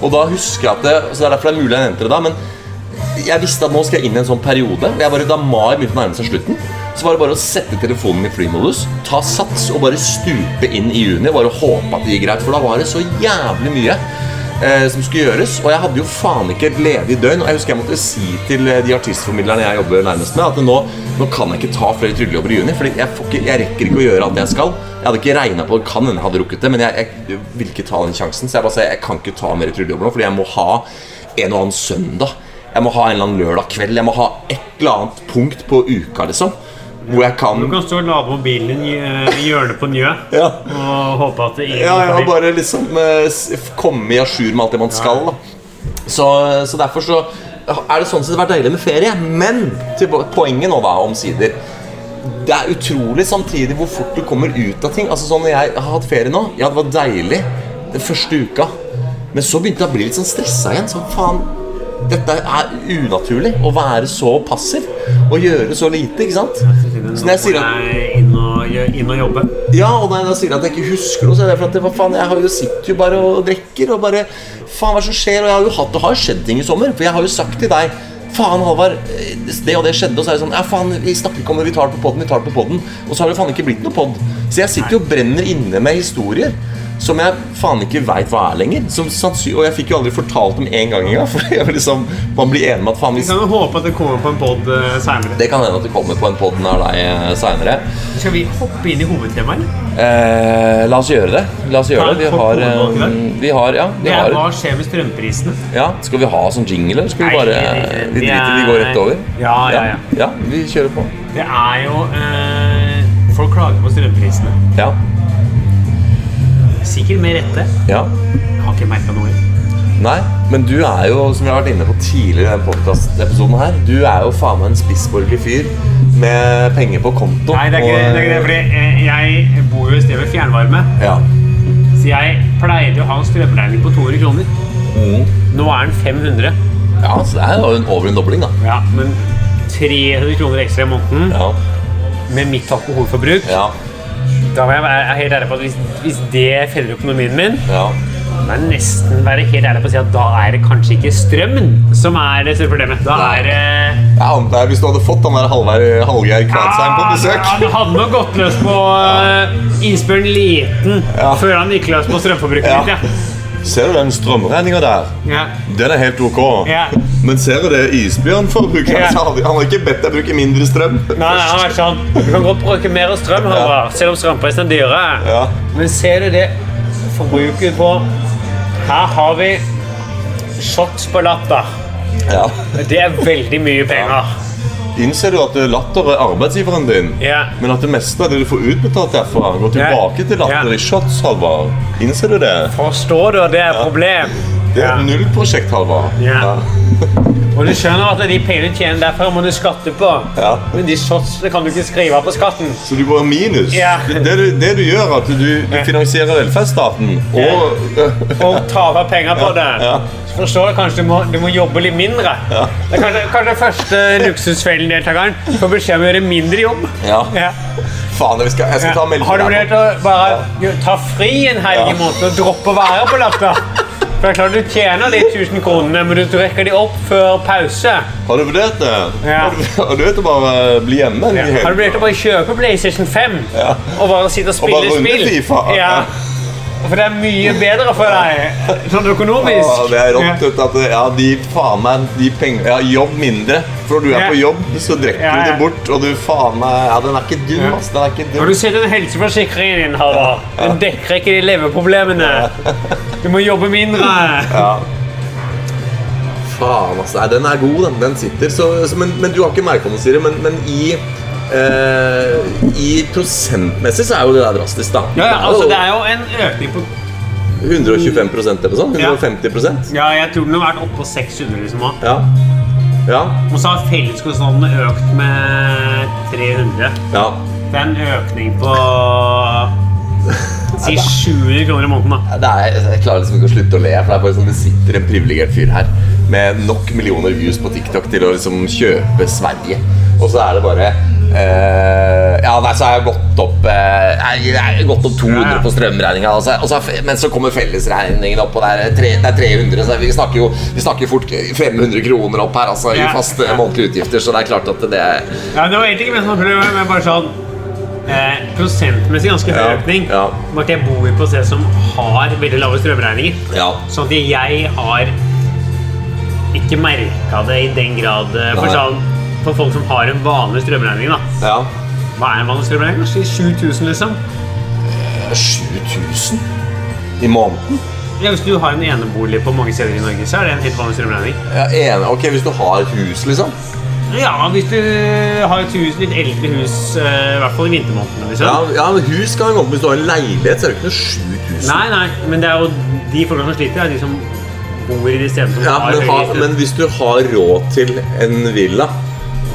Og da husker jeg at det, Så det er derfor det er mulig jeg nevnte det da, men jeg visste at nå skal jeg inn i en sånn periode. og Jeg bare, da mai begynte å nærme seg slutten, så var det bare å sette telefonen i flymodus, ta sats og bare stupe inn i juni og bare håpe at det gikk greit, for da var det så jævlig mye eh, som skulle gjøres. Og jeg hadde jo faen ikke et ledig døgn. Og jeg husker jeg måtte si til eh, de artistformidlerne jeg jobber nærmest med, at nå, nå kan jeg ikke ta flere trygdejobber i juni. For jeg, får ikke- jeg rekker ikke å gjøre alt jeg skal. Jeg hadde ikke regnet på det, kan hende jeg hadde rukket det, men jeg, jeg vil ikke ta den sjansen. Så jeg bare sa jeg kan ikke ta mer trygdejobber nå, fordi jeg må ha en og annen søndag. Jeg må ha en eller annen lørdag kveld. Jeg må ha et eller annet punkt på uka, liksom. Hvor jeg kan
Du kan stå og lade mobilen din i eh, i hjørnet på Njø
Ja.
og håpe at det ingen
Ja, ja,
kommer.
bare liksom eh, s- komme i à jour med alt det man skal. Da. Så, eh, så derfor så er det sånn sett vært deilig med ferie. Men til po- poenget nå, da, omsider. Det er utrolig samtidig hvor fort du kommer ut av ting. Altså sånn når Jeg har hatt ferie nå. Ja, det var deilig den første uka. Men så begynte jeg å bli litt sånn stressa igjen. Sånn, faen, dette er unaturlig. Å være så passiv og gjøre så lite, ikke sant? Så når jeg sier at
Nei, inn og, gjø- inn og jobbe.
ja, og når jeg da sier at jeg ikke husker noe, så er det for at hva faen, jeg har jo sitter jo bare og drikker og bare Faen, hva er det som skjer? Og jeg har jo hatt, det har jo skjedd ting i sommer, for jeg har jo sagt til deg Faen, Halvard, eh, det og det skjedde, og så er det sånn Ja, faen, vi snakker ikke om det, vi tar det på podden, vi tar det på podden. Og så har det faen ikke blitt noe podd. Så jeg sitter jo og brenner inne med historier som jeg faen ikke veit hva er lenger. Som sannsyn- og jeg fikk jo aldri fortalt dem én gang engang, for jeg var liksom, man blir enig med at faen,
Vi
hvis
kan jo håpe at det kommer på en pod eh, seinere.
det kan hende at det kommer på en podd nær deg eh, seinere.
Skal vi hoppe inn i hovedtemaet? eller?
Eh, la oss gjøre det. La oss gjøre
Ta
det.
en
Vi
kort
har, eh,
hovedvalg i dag.
vi har Ja, vi
Det er hva
har,
skjer med strømprisene?
ja. Skal vi ha sånn jingle, eller skal vi
Nei,
bare
det-
Vi
det
driter vi går rett
er-
over?
Ja, ja, ja.
ja. Vi kjører på.
Det er jo eh, Folk klager på strømprisene.
Ja.
Sikkert med rette.
ja.
Jeg har ikke merka noe.
Nei, men du er jo, som vi har vært inne på tidligere i denne podkastepisoden her, du er jo faen meg en spissborgerlig fyr med penger på konto.
Nei, det er ikke det.
og-
det, er ikke det fordi eh, jeg bor jo i stedet med fjernvarme.
Ja.
Så jeg pleide å ha en strømregning på 200 kroner. Nå er den 500.
ja, så det er jo en over en dobling, da.
Ja, men 300 kroner ekstra i måneden
Ja.
med mitt alkoholforbruk
Ja.
Da må jeg være helt ærlig på at hvis, hvis det feller økonomien min,
ja.
må jeg nesten være helt ærlig på å si at da er det kanskje ikke strømmen som er det store problemet. Da
Nei.
er det
Jeg antar hvis du hadde fått han der Hallgeir Hallgeir Kvadsheim på besøk.
Ah, Ja, Han hadde nok gått løs på uh, Isbjørn Liten
Ja.
før han gikk løs på strømforbruket
Ja.
mitt. Ja.
Ser du den strømregninga der?
Ja.
Den er helt ok.
Ja.
Men ser du det isbjørnforbruket?
Ja.
Han har- han har ikke bedt deg bruke mindre strøm.
Nei, han har vært sånn Du kan godt bruke mer strøm, Halvard, selv om strømprisen er dyre.
Ja.
Men ser du det forbruket på Her har vi shots på latter.
Ja.
Det er veldig mye penger.
Innser du at latter er arbeidsgiveren din?
Ja.
Men at det meste av det du får utbetalt derfra, går tilbake til latter
Ja.
i shots, Halvard? Innser du det?
Forstår du at det er et problem?
Det er null prosjekt, Halvard.
Ja.
Ja.
Og du skjønner at de pengene du tjener derfra, må du skatte på.
Ja.
Men de shotsene kan du ikke skrive av på skatten.
Så du går minus.
Ja.
Det, det, du, det du gjør, er at du, du finansierer velferdsstaten og
Og taper penger på det.
ja.
Så forstår du kanskje du må, du må jobbe litt mindre. Det er kanskje, kanskje første luksusfellen-deltakeren får beskjed om å gjøre mindre jobb.
Ja.
Ja.
Faen, jeg skal, jeg skal ta meldingen.
Har du vurdert å bare jo, ta fri en helg i
Ja.
måneden og droppe å være på latter? For det er klart du tjener de 1000 kronene, men du rekker de opp før pause.
Har du vurdert det?
Ja.
Har du- Har du vurdert å bare bli hjemme? en helg?
Har du vurdert å bare kjøpe PlayStation 5
Ja.
og bare sitte og
Og bare
spille
runde
spill?
FIFA.
Ja. For det er mye bedre for deg sånn økonomisk.
Ja, det er rått vet du, at ja, de faen meg de pengene ja, Jobb mindre. For når du er
Ja.
på jobb, så drikker
Ja,
du
ja.
det bort, og du faen meg Ja, den er ikke dum, ass. Den er ikke
Har
dum.
du sett den helseforsikringen din, Halvard? Den dekker ikke de leverproblemene. Du må jobbe mindre.
Ja. Faen, ass. Nei, den er god, den. Den sitter. Så, så, men, men du har ikke merka noe, Siri. Men, men i eh, I prosentmessig så er jo det der drastisk, da.
Ja, ja, altså Det er jo en økning på
125 eller noe sånt?
Ja.
150
Ja, jeg tror den har vært oppå 600. liksom også.
Ja. Ja.
Og så har felleskostnadene økt med 300.
ja.
Det er en økning på Si 700 kroner i måneden, da.
Det er, jeg klarer liksom ikke å slutte å le. For Det er bare sånn, det sitter en privilegert fyr her med nok millioner views på TikTok til å liksom kjøpe Sverige. Og så er det bare eh, Ja, nei, så har jeg gått opp eh, jeg, jeg har gått opp 200 på strømregninga. Og så, og så, er fe- men så kommer fellesregningen opp, og det er, eh, tre, det er 300. Så vi snakker jo vi snakker fort 500 kroner opp her altså, i
Ja.
faste månedlige utgifter. Så det er klart at det er
Ja, det var egentlig ikke ment som prøve, men bare sånn eh, prosentmessig ganske høy
Ja,
økning.
ja.
Bare at jeg bor jo på et sted som har veldig lave strømregninger.
Ja.
Sånn at jeg har ikke merka det i den grad eh, for,
Nei.
sånn, for folk som har en vanlig strømregning, da.
ja.
Hva er en vanlig strømregning? Si 7000, liksom.
7000 i måneden?
Ja, hvis du har en enebolig på mange steder i Norge, så er det en helt vanlig strømregning.
Ja, en, ok, Hvis du har et hus, liksom?
Ja, hvis du har et hus, litt eldre hus, eh, i hvert fall i vintermånedene, liksom.
Ja, ja men hus kan gå opp hvis du har en leilighet, så er det ikke noe 7000.
Nei, nei, men det er jo de folka som sliter, er de som bor i de stedene som
Ja,
har
men,
høy
ha,
strøm.
men hvis du har råd til en villa,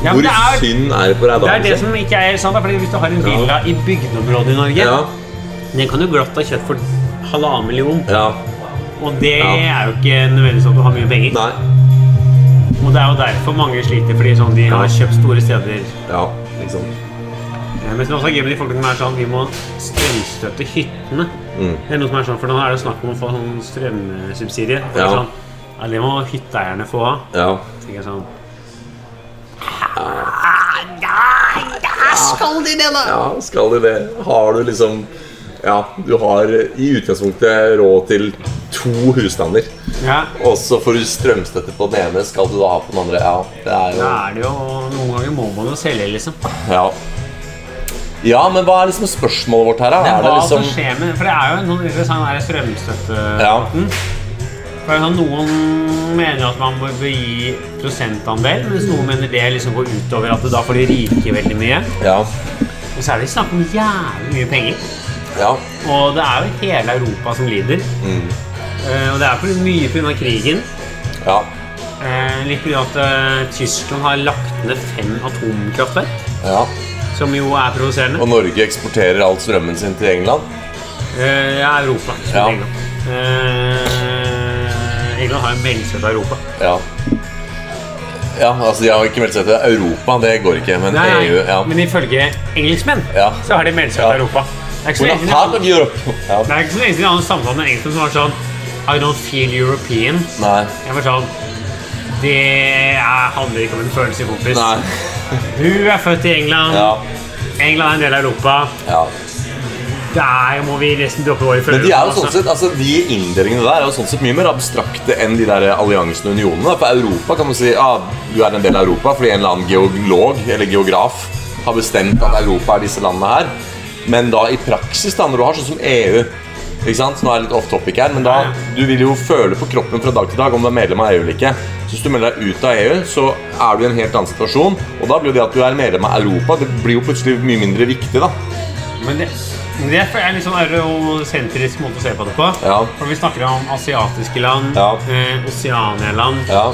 Ja, men
hvor
det er-
synd er det på deg da?
Det er det
liksom?
som ikke er sant, da, fordi hvis du har en villa i bygdeområdet i Norge,
Ja,
den kan du glatt ha kjøpt for halvannen million,
ja,
og det
Ja.
er jo ikke nødvendigvis at du har mye penger.
nei,
Og det er jo derfor mange sliter, fordi sånn, de har kjøpt store steder.
ja, liksom.
Eh, Men det er også gøy med de folkene som er sånn, vi må strømstøtte hyttene.
Mm.
Det er noe som er sånn, for nå er det snakk om å få sånn strømsubsidie. Og det er
Ja.
Sånn, ja, det må hytteeierne få av.
Ja.
tenker jeg sånn.
ja, skal du det? Har du liksom Ja, du har i utgangspunktet råd til to husstander,
Ja,
og så får du strømstøtte på den ene, skal du da ha på den andre? Ja, det er jo
da er det jo Noen ganger må man jo selge, liksom.
Ja. ja, men hva er liksom spørsmålet vårt her, da?
Det er
Er det
hva som
liksom
skjer med For det er jo en sånn interessant der strømstøtte
Ja.
For det er jo sånn, Noen mener at man bør bør gi prosentandel, mens noen mener det liksom går utover at det da får de rike veldig mye.
Ja.
Og så er det snakk om jævlig mye penger.
ja.
Og det er jo hele Europa som lider.
Mm.
Eh, og det er for mye pga. krigen.
ja.
Eh, litt pga. at eh, Tyskland har lagt ned fem atomkraftverk,
Ja.
som jo er provoserende.
Og Norge eksporterer all strømmen sin til England?
Eh, ja, Europa. ikke
Ja.
England. Eh, England har en velstøtta Europa.
Ja. Ja, altså De har jo ikke meldt seg til Europa, det går ikke. Men
Nei, nei,
EU E ja.
Men ifølge engelskmenn
Ja.
så har de meldt
Ja.
Europa. Det er ikke så
We're
lenge
not
siden jeg
part of
hadde-
Europe. Ja.
det er ikke så lenge siden jeg hadde en samtale med en engelskmann som var sånn I don't feel European.
Nei.
Jeg var sånn Det er, handler ikke om en følelse, kompis.
Nei.
Du er født i England.
Ja.
England er en del av Europa.
ja.
Der må vi nesten droppe våre
Men
følelser.
de er jo
altså.
sånn sett, altså de inndelingene der er jo sånn sett mye mer abstrakte enn de der alliansene og unionene. da. For Europa kan man si ah, du er en del av Europa fordi en eller annen geolog eller geograf har bestemt at Europa er disse landene her. Men da i praksis, da, når du har sånn som EU ikke sant? Nå er jeg litt off topic her, men da, Du vil jo føle på kroppen fra dag til dag om du er medlem av EU eller ikke. Så hvis du melder deg ut av EU, så er du i en helt annen situasjon. Og da blir jo det at du er medlem av Europa, det blir jo plutselig mye mindre viktig. da
Men det, Det er en litt sånn eurosentrisk måte å se på det på.
Ja.
For vi snakker om asiatiske land,
Ja.
eh, Oseania-land,
Ja.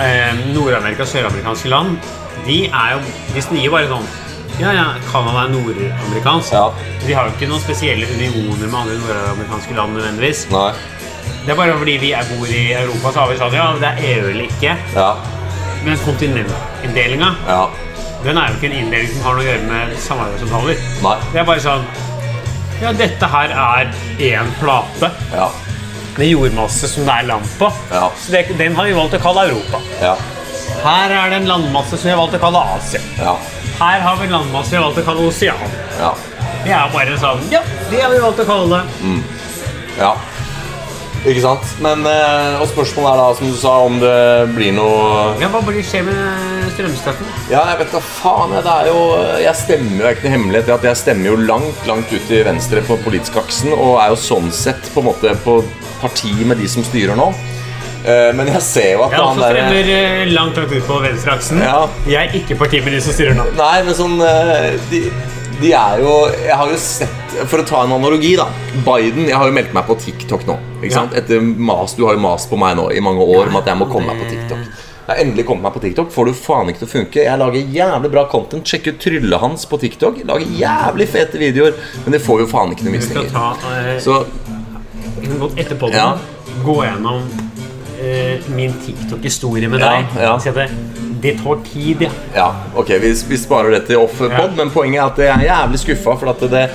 eh, Nord-Amerika, søramerikanske land. De er jo De snier bare sånn. Ja, ja, Canada er nordamerikansk.
Ja.
De har jo ikke noen spesielle unioner med andre nordamerikanske land nødvendigvis.
Nei.
Det er bare fordi vi er bor i Europa, så har vi sånn ja, det er EU eller ikke.
Ja.
Men kontinentinndelinga,
Ja.
den er jo ikke en inndeling som har noe å gjøre med samarbeidsavtaler.
Nei.
Det er bare sånn Ja, dette her er én plate
Ja.
med jordmasse som det er land på.
Ja.
Så det, den har vi valgt å kalle Europa.
Ja.
Her er det en landmasse som vi har valgt å kalle Asia.
Ja.
Her har vi en landmasse vi har valgt å kalle Osean.
Ja.
Det er bare sånn Ja, det har vi valgt å kalle det.
Ja. Ikke sant? Men, eh, og spørsmålet er da, som du sa, om det blir noe
Ja, hva blir skjer med strømstøtten?
Ja, jeg vet da faen. Jeg, det er jo, jeg stemmer jo det er ikke noe hemmelighet i at jeg stemmer jo langt langt ut til venstre på politisk aksen, og er jo sånn sett på en måte på parti med de som styrer nå. Eh, Men jeg ser jo at
Jeg er også
han der-
strømmer eh, langt langt ut på venstreaksen.
Ja.
Jeg er ikke parti med de som styrer nå.
Nei, men sånn eh, de, de er jo Jeg har jo sett For å ta en analogi, da. Biden Jeg har jo meldt meg på TikTok nå. Ikke
Ja.
sant? Etter mas, Du har jo mast på meg nå i mange år om at jeg må komme meg på TikTok. Jeg har endelig kommet meg på TikTok. Får du faen ikke til å funke. Jeg lager jævlig bra content. Sjekk ut tryllet hans på TikTok. Lager jævlig fete videoer. Men det får jo faen ikke noe
Vi skal
visninger.
ta eh,
Så
Vi kan godt etterpå den,
Ja.
gå gjennom eh, min TikTok-historie med
Ja,
deg.
ja.
Si at det, det tar tid, ja.
Ja, ok, vi, vi sparer det til off-pod,
Ja.
men poenget er at jeg er jævlig skuffa. For at det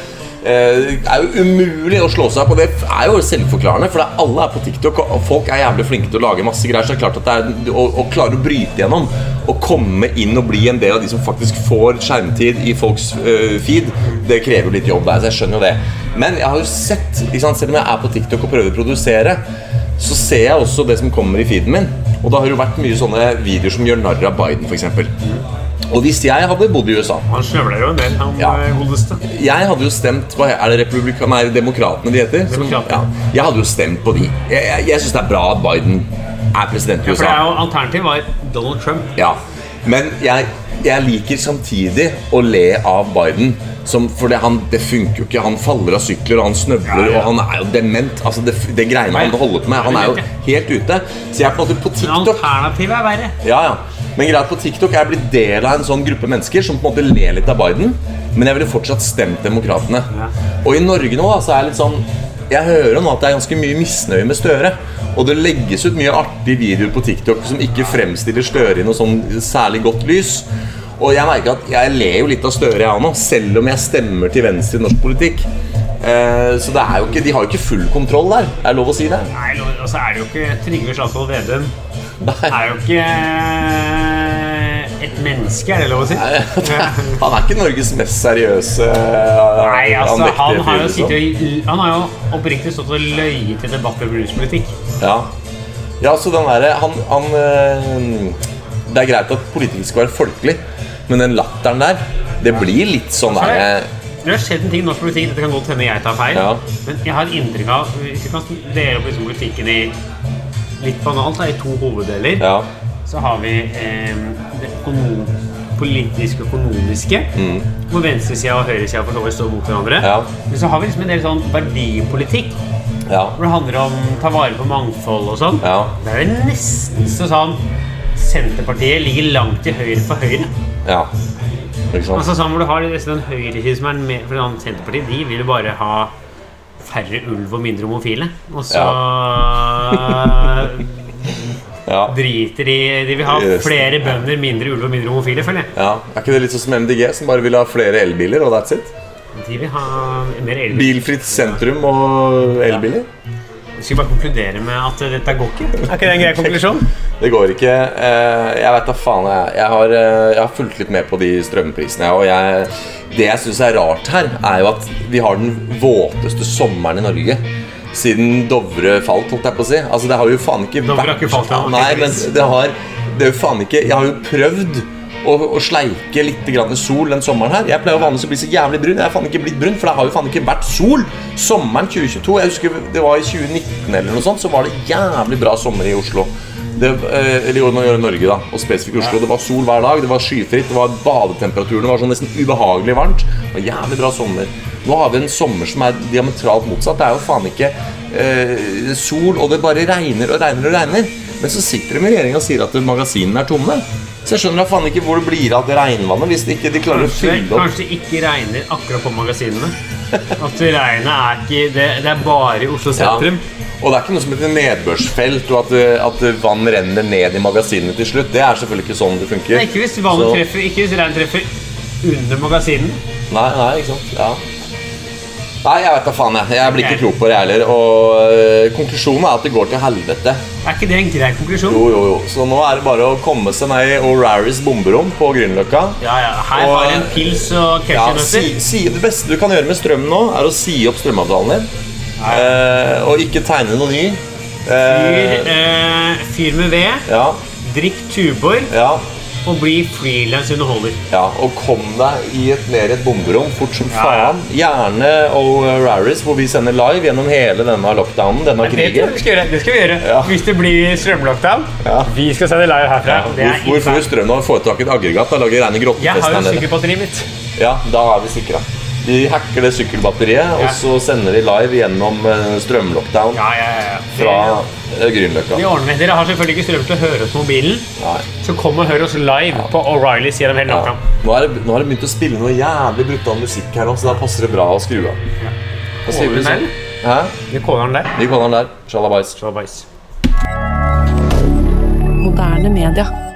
eh, er jo umulig å slå seg på. Det er jo selvforklarende, for det er, alle er på TikTok, og folk er jævlig flinke til å lage masse greier. Så det er klart at det er å, å klare å bryte gjennom og komme inn og bli en del av de som faktisk får skjermtid i folks eh, feed, det krever litt jobb der, så jeg skjønner jo det. Men jeg har jo sett, ikke sant, selv om jeg er på TikTok og prøver å produsere så ser jeg også det som kommer i feeden min. Og da har det jo vært mye sånne videoer som gjør narr av Biden, f.eks. Og hvis jeg hadde bodd i USA
Han snøvler jo en del, han
Ja.
eh, godeste.
Jeg hadde jo stemt hva Er det republikan... Nei, demokratene de heter? Som-
Demokratene.
ja. Jeg hadde jo stemt på de. Jeg, jeg, jeg syns det er bra at Biden er president i
For det
USA.
er jo alternativet var Donald Trump.
Ja. Men jeg, jeg liker samtidig å le av Biden. Som, for det, han, det funker jo ikke. Han faller av sykler, og han snøvler,
Ja, ja.
og han er jo dement. Altså, det, det greiene han holder på med, han er jo helt ute. Så jeg er på en måte på
Men
TikTok
alternativet er verre.
Ja, ja. Men greit, på TikTok er jeg blitt del av en sånn gruppe mennesker som på en måte ler litt av Biden, men jeg ville fortsatt stemt Demokratene.
Ja.
Og i Norge nå da, så er jeg litt sånn Jeg hører jo nå at det er ganske mye misnøye med Støre. Og det legges ut mye artige videoer på TikTok som ikke fremstiller Støre i noe sånn særlig godt lys. Og jeg merker at jeg ler jo litt av Støre, jeg nå, selv om jeg stemmer til venstre i norsk politikk. Eh, så det er jo ikke, de har jo ikke full kontroll der. Er det lov å si det?
Nei, lo- altså er det jo ikke Trygve Slagsvold Vedum.
Nei.
Er jo ikke eh, et menneske, er det lov å si?
Han er ikke Norges mest seriøse eh,
Nei, altså,
andektige
han har
fyr,
jo
liksom.
sittet og Han har jo oppriktig stått og løyet i debatt om ruspolitikk.
liksom. Ja, ja så den derre han, han eh, Det er greit at politikere skal være folkelig, men den latteren der, det blir litt sånn
Så
derre
Altså, det, det har skjedd en ting i norsk politikk. Dette kan godt hende jeg tar feil.
Ja.
Men jeg har inntrykk av Hvis vi kan dele opp liksom politikken i litt banalt, da, i to hoveddeler,
Ja.
så har vi eh, det økono politisk-økonomiske, hvor venstresida og høyresida for så vidt står mot hverandre.
Mm. Ja.
Men så har vi liksom en del sånn verdipolitikk,
Ja.
hvor det handler om ta vare på mangfold og sånn.
Ja.
Det er jo nesten så sånn Senterpartiet ligger langt til høyre for Høyre.
ja. Ikke sant?
Altså sånn hvor du har nesten en høyreside som er mer For sånn, Senterpartiet de vil jo bare ha færre ulv og mindre homofile. Og så
Ja.
driter de De vil ha
Yes.
flere bønder, mindre ulv og mindre homofile, føler jeg.
ja. Er ikke det litt sånn som MDG, som bare vil ha flere elbiler, og that's it?
De vil ha mer elbil.
Bilfritt sentrum og elbiler?
Skal vi bare konkludere med at dette går ikke? Er ikke det en grei konklusjon?
Det går ikke. Eh, Jeg vet da faen. Jeg, jeg, har, eh, jeg har fulgt litt med på de strømprisene. Og jeg, det jeg syns er rart her, er jo at vi har den våteste sommeren i Norge. Siden Dovre falt, holdt jeg på å si. Altså, det har jo faen ikke
Dovre har ikke falt, ja.
Nei, men det har Det er jo faen ikke Jeg har jo prøvd å, å sleike litt grann sol den sommeren her. Jeg pleier jo vanligvis å bli så jævlig brun. Jeg er faen ikke blitt brun, for det har jo faen ikke vært sol! Sommeren 2022 Jeg husker det var i 2019 eller noe sånt, så var det jævlig bra sommer i Oslo. Det, eh, eller jo, nå gjør det Norge, da, og spesifikt Oslo. Det var sol hver dag, det var skyfritt, det var badetemperaturene var sånn nesten ubehagelig varmt. Det var jævlig bra sommer. Nå har vi en sommer som er diametralt motsatt. Det er jo faen ikke eh, sol, og det bare regner og regner og regner. Men så sitter de i regjeringa og sier at magasinene er tomme. Så jeg skjønner da faen ikke hvor det blir av det regnvannet hvis de ikke de klarer å
Kanskje,
fylle opp
kanskje ikke regner akkurat på magasinene. At regnet er ikke Det, det er bare i Oslo
Ja.
sentrum.
Og det er ikke noe som heter nedbørsfelt, og at, eh, at vann renner ned i magasinene til slutt. Det er selvfølgelig ikke sånn det funker.
Nei, Ikke hvis vannet
Så-
treffer Ikke hvis regnet treffer under magasinen.
Nei, nei, ikke sant. Ja. Nei, jeg vet da faen, jeg. Jeg blir ikke
Ok.
klok på det heller. Og eh, konklusjonen er at det går til helvete.
Er ikke det en grei konklusjon?
Jo, jo, jo. Så nå er det bare å komme seg ned i O'Raris bomberom på Grünerløkka.
Ja, ja. Her
Og-
har jeg en pils og
Ja,
cashewnøtter.
si, si, det beste du kan gjøre med strøm nå, er å si opp strømavtalen din. Eh, og ikke tegne noe ny. Eh,
Fyr, eh, fyr med ved,
ja,
drikk Tuborg
ja,
og bli frilans underholder.
ja. Og kom deg i et, ned i et bomberom fort som
Ja, ja.
faen. Gjerne O'Raris, hvor vi sender live gjennom hele denne lockdownen, denne
Det tror
krigen.
jeg vi skal gjøre. Det skal vi gjøre.
Ja.
Hvis det blir strømlockdown,
Ja.
vi skal sende live herfra. Det er
Hvor, hvor får vi
inside.
strøm av å få tak i et aggregat? Da lager reine
Jeg
grottefest her
har jo
nede.
sykkelbatteriet mitt.
Ja, da er vi sikra. De hacker det sykkelbatteriet, og så sender de live gjennom eh, strømlockdown
Ja, ja, ja.
fra
Det-
eh, Grünerløkka.
Vi ordner med. Dere har selvfølgelig ikke strøm til å høre oss på mobilen,
Nei.
så kom og hør oss live på O'Reillys gjennom hele
Ja.
lockdown.
Nå har det, nå har det begynt å spille noe jævlig brutal musikk her nå, så da passer det bra å skru av. Da sier vi
Kåler den
sånn- Hæ?
Vi kåler den der.
Vi kaller den der. Sjalabais.
Shabais.
Moderne media.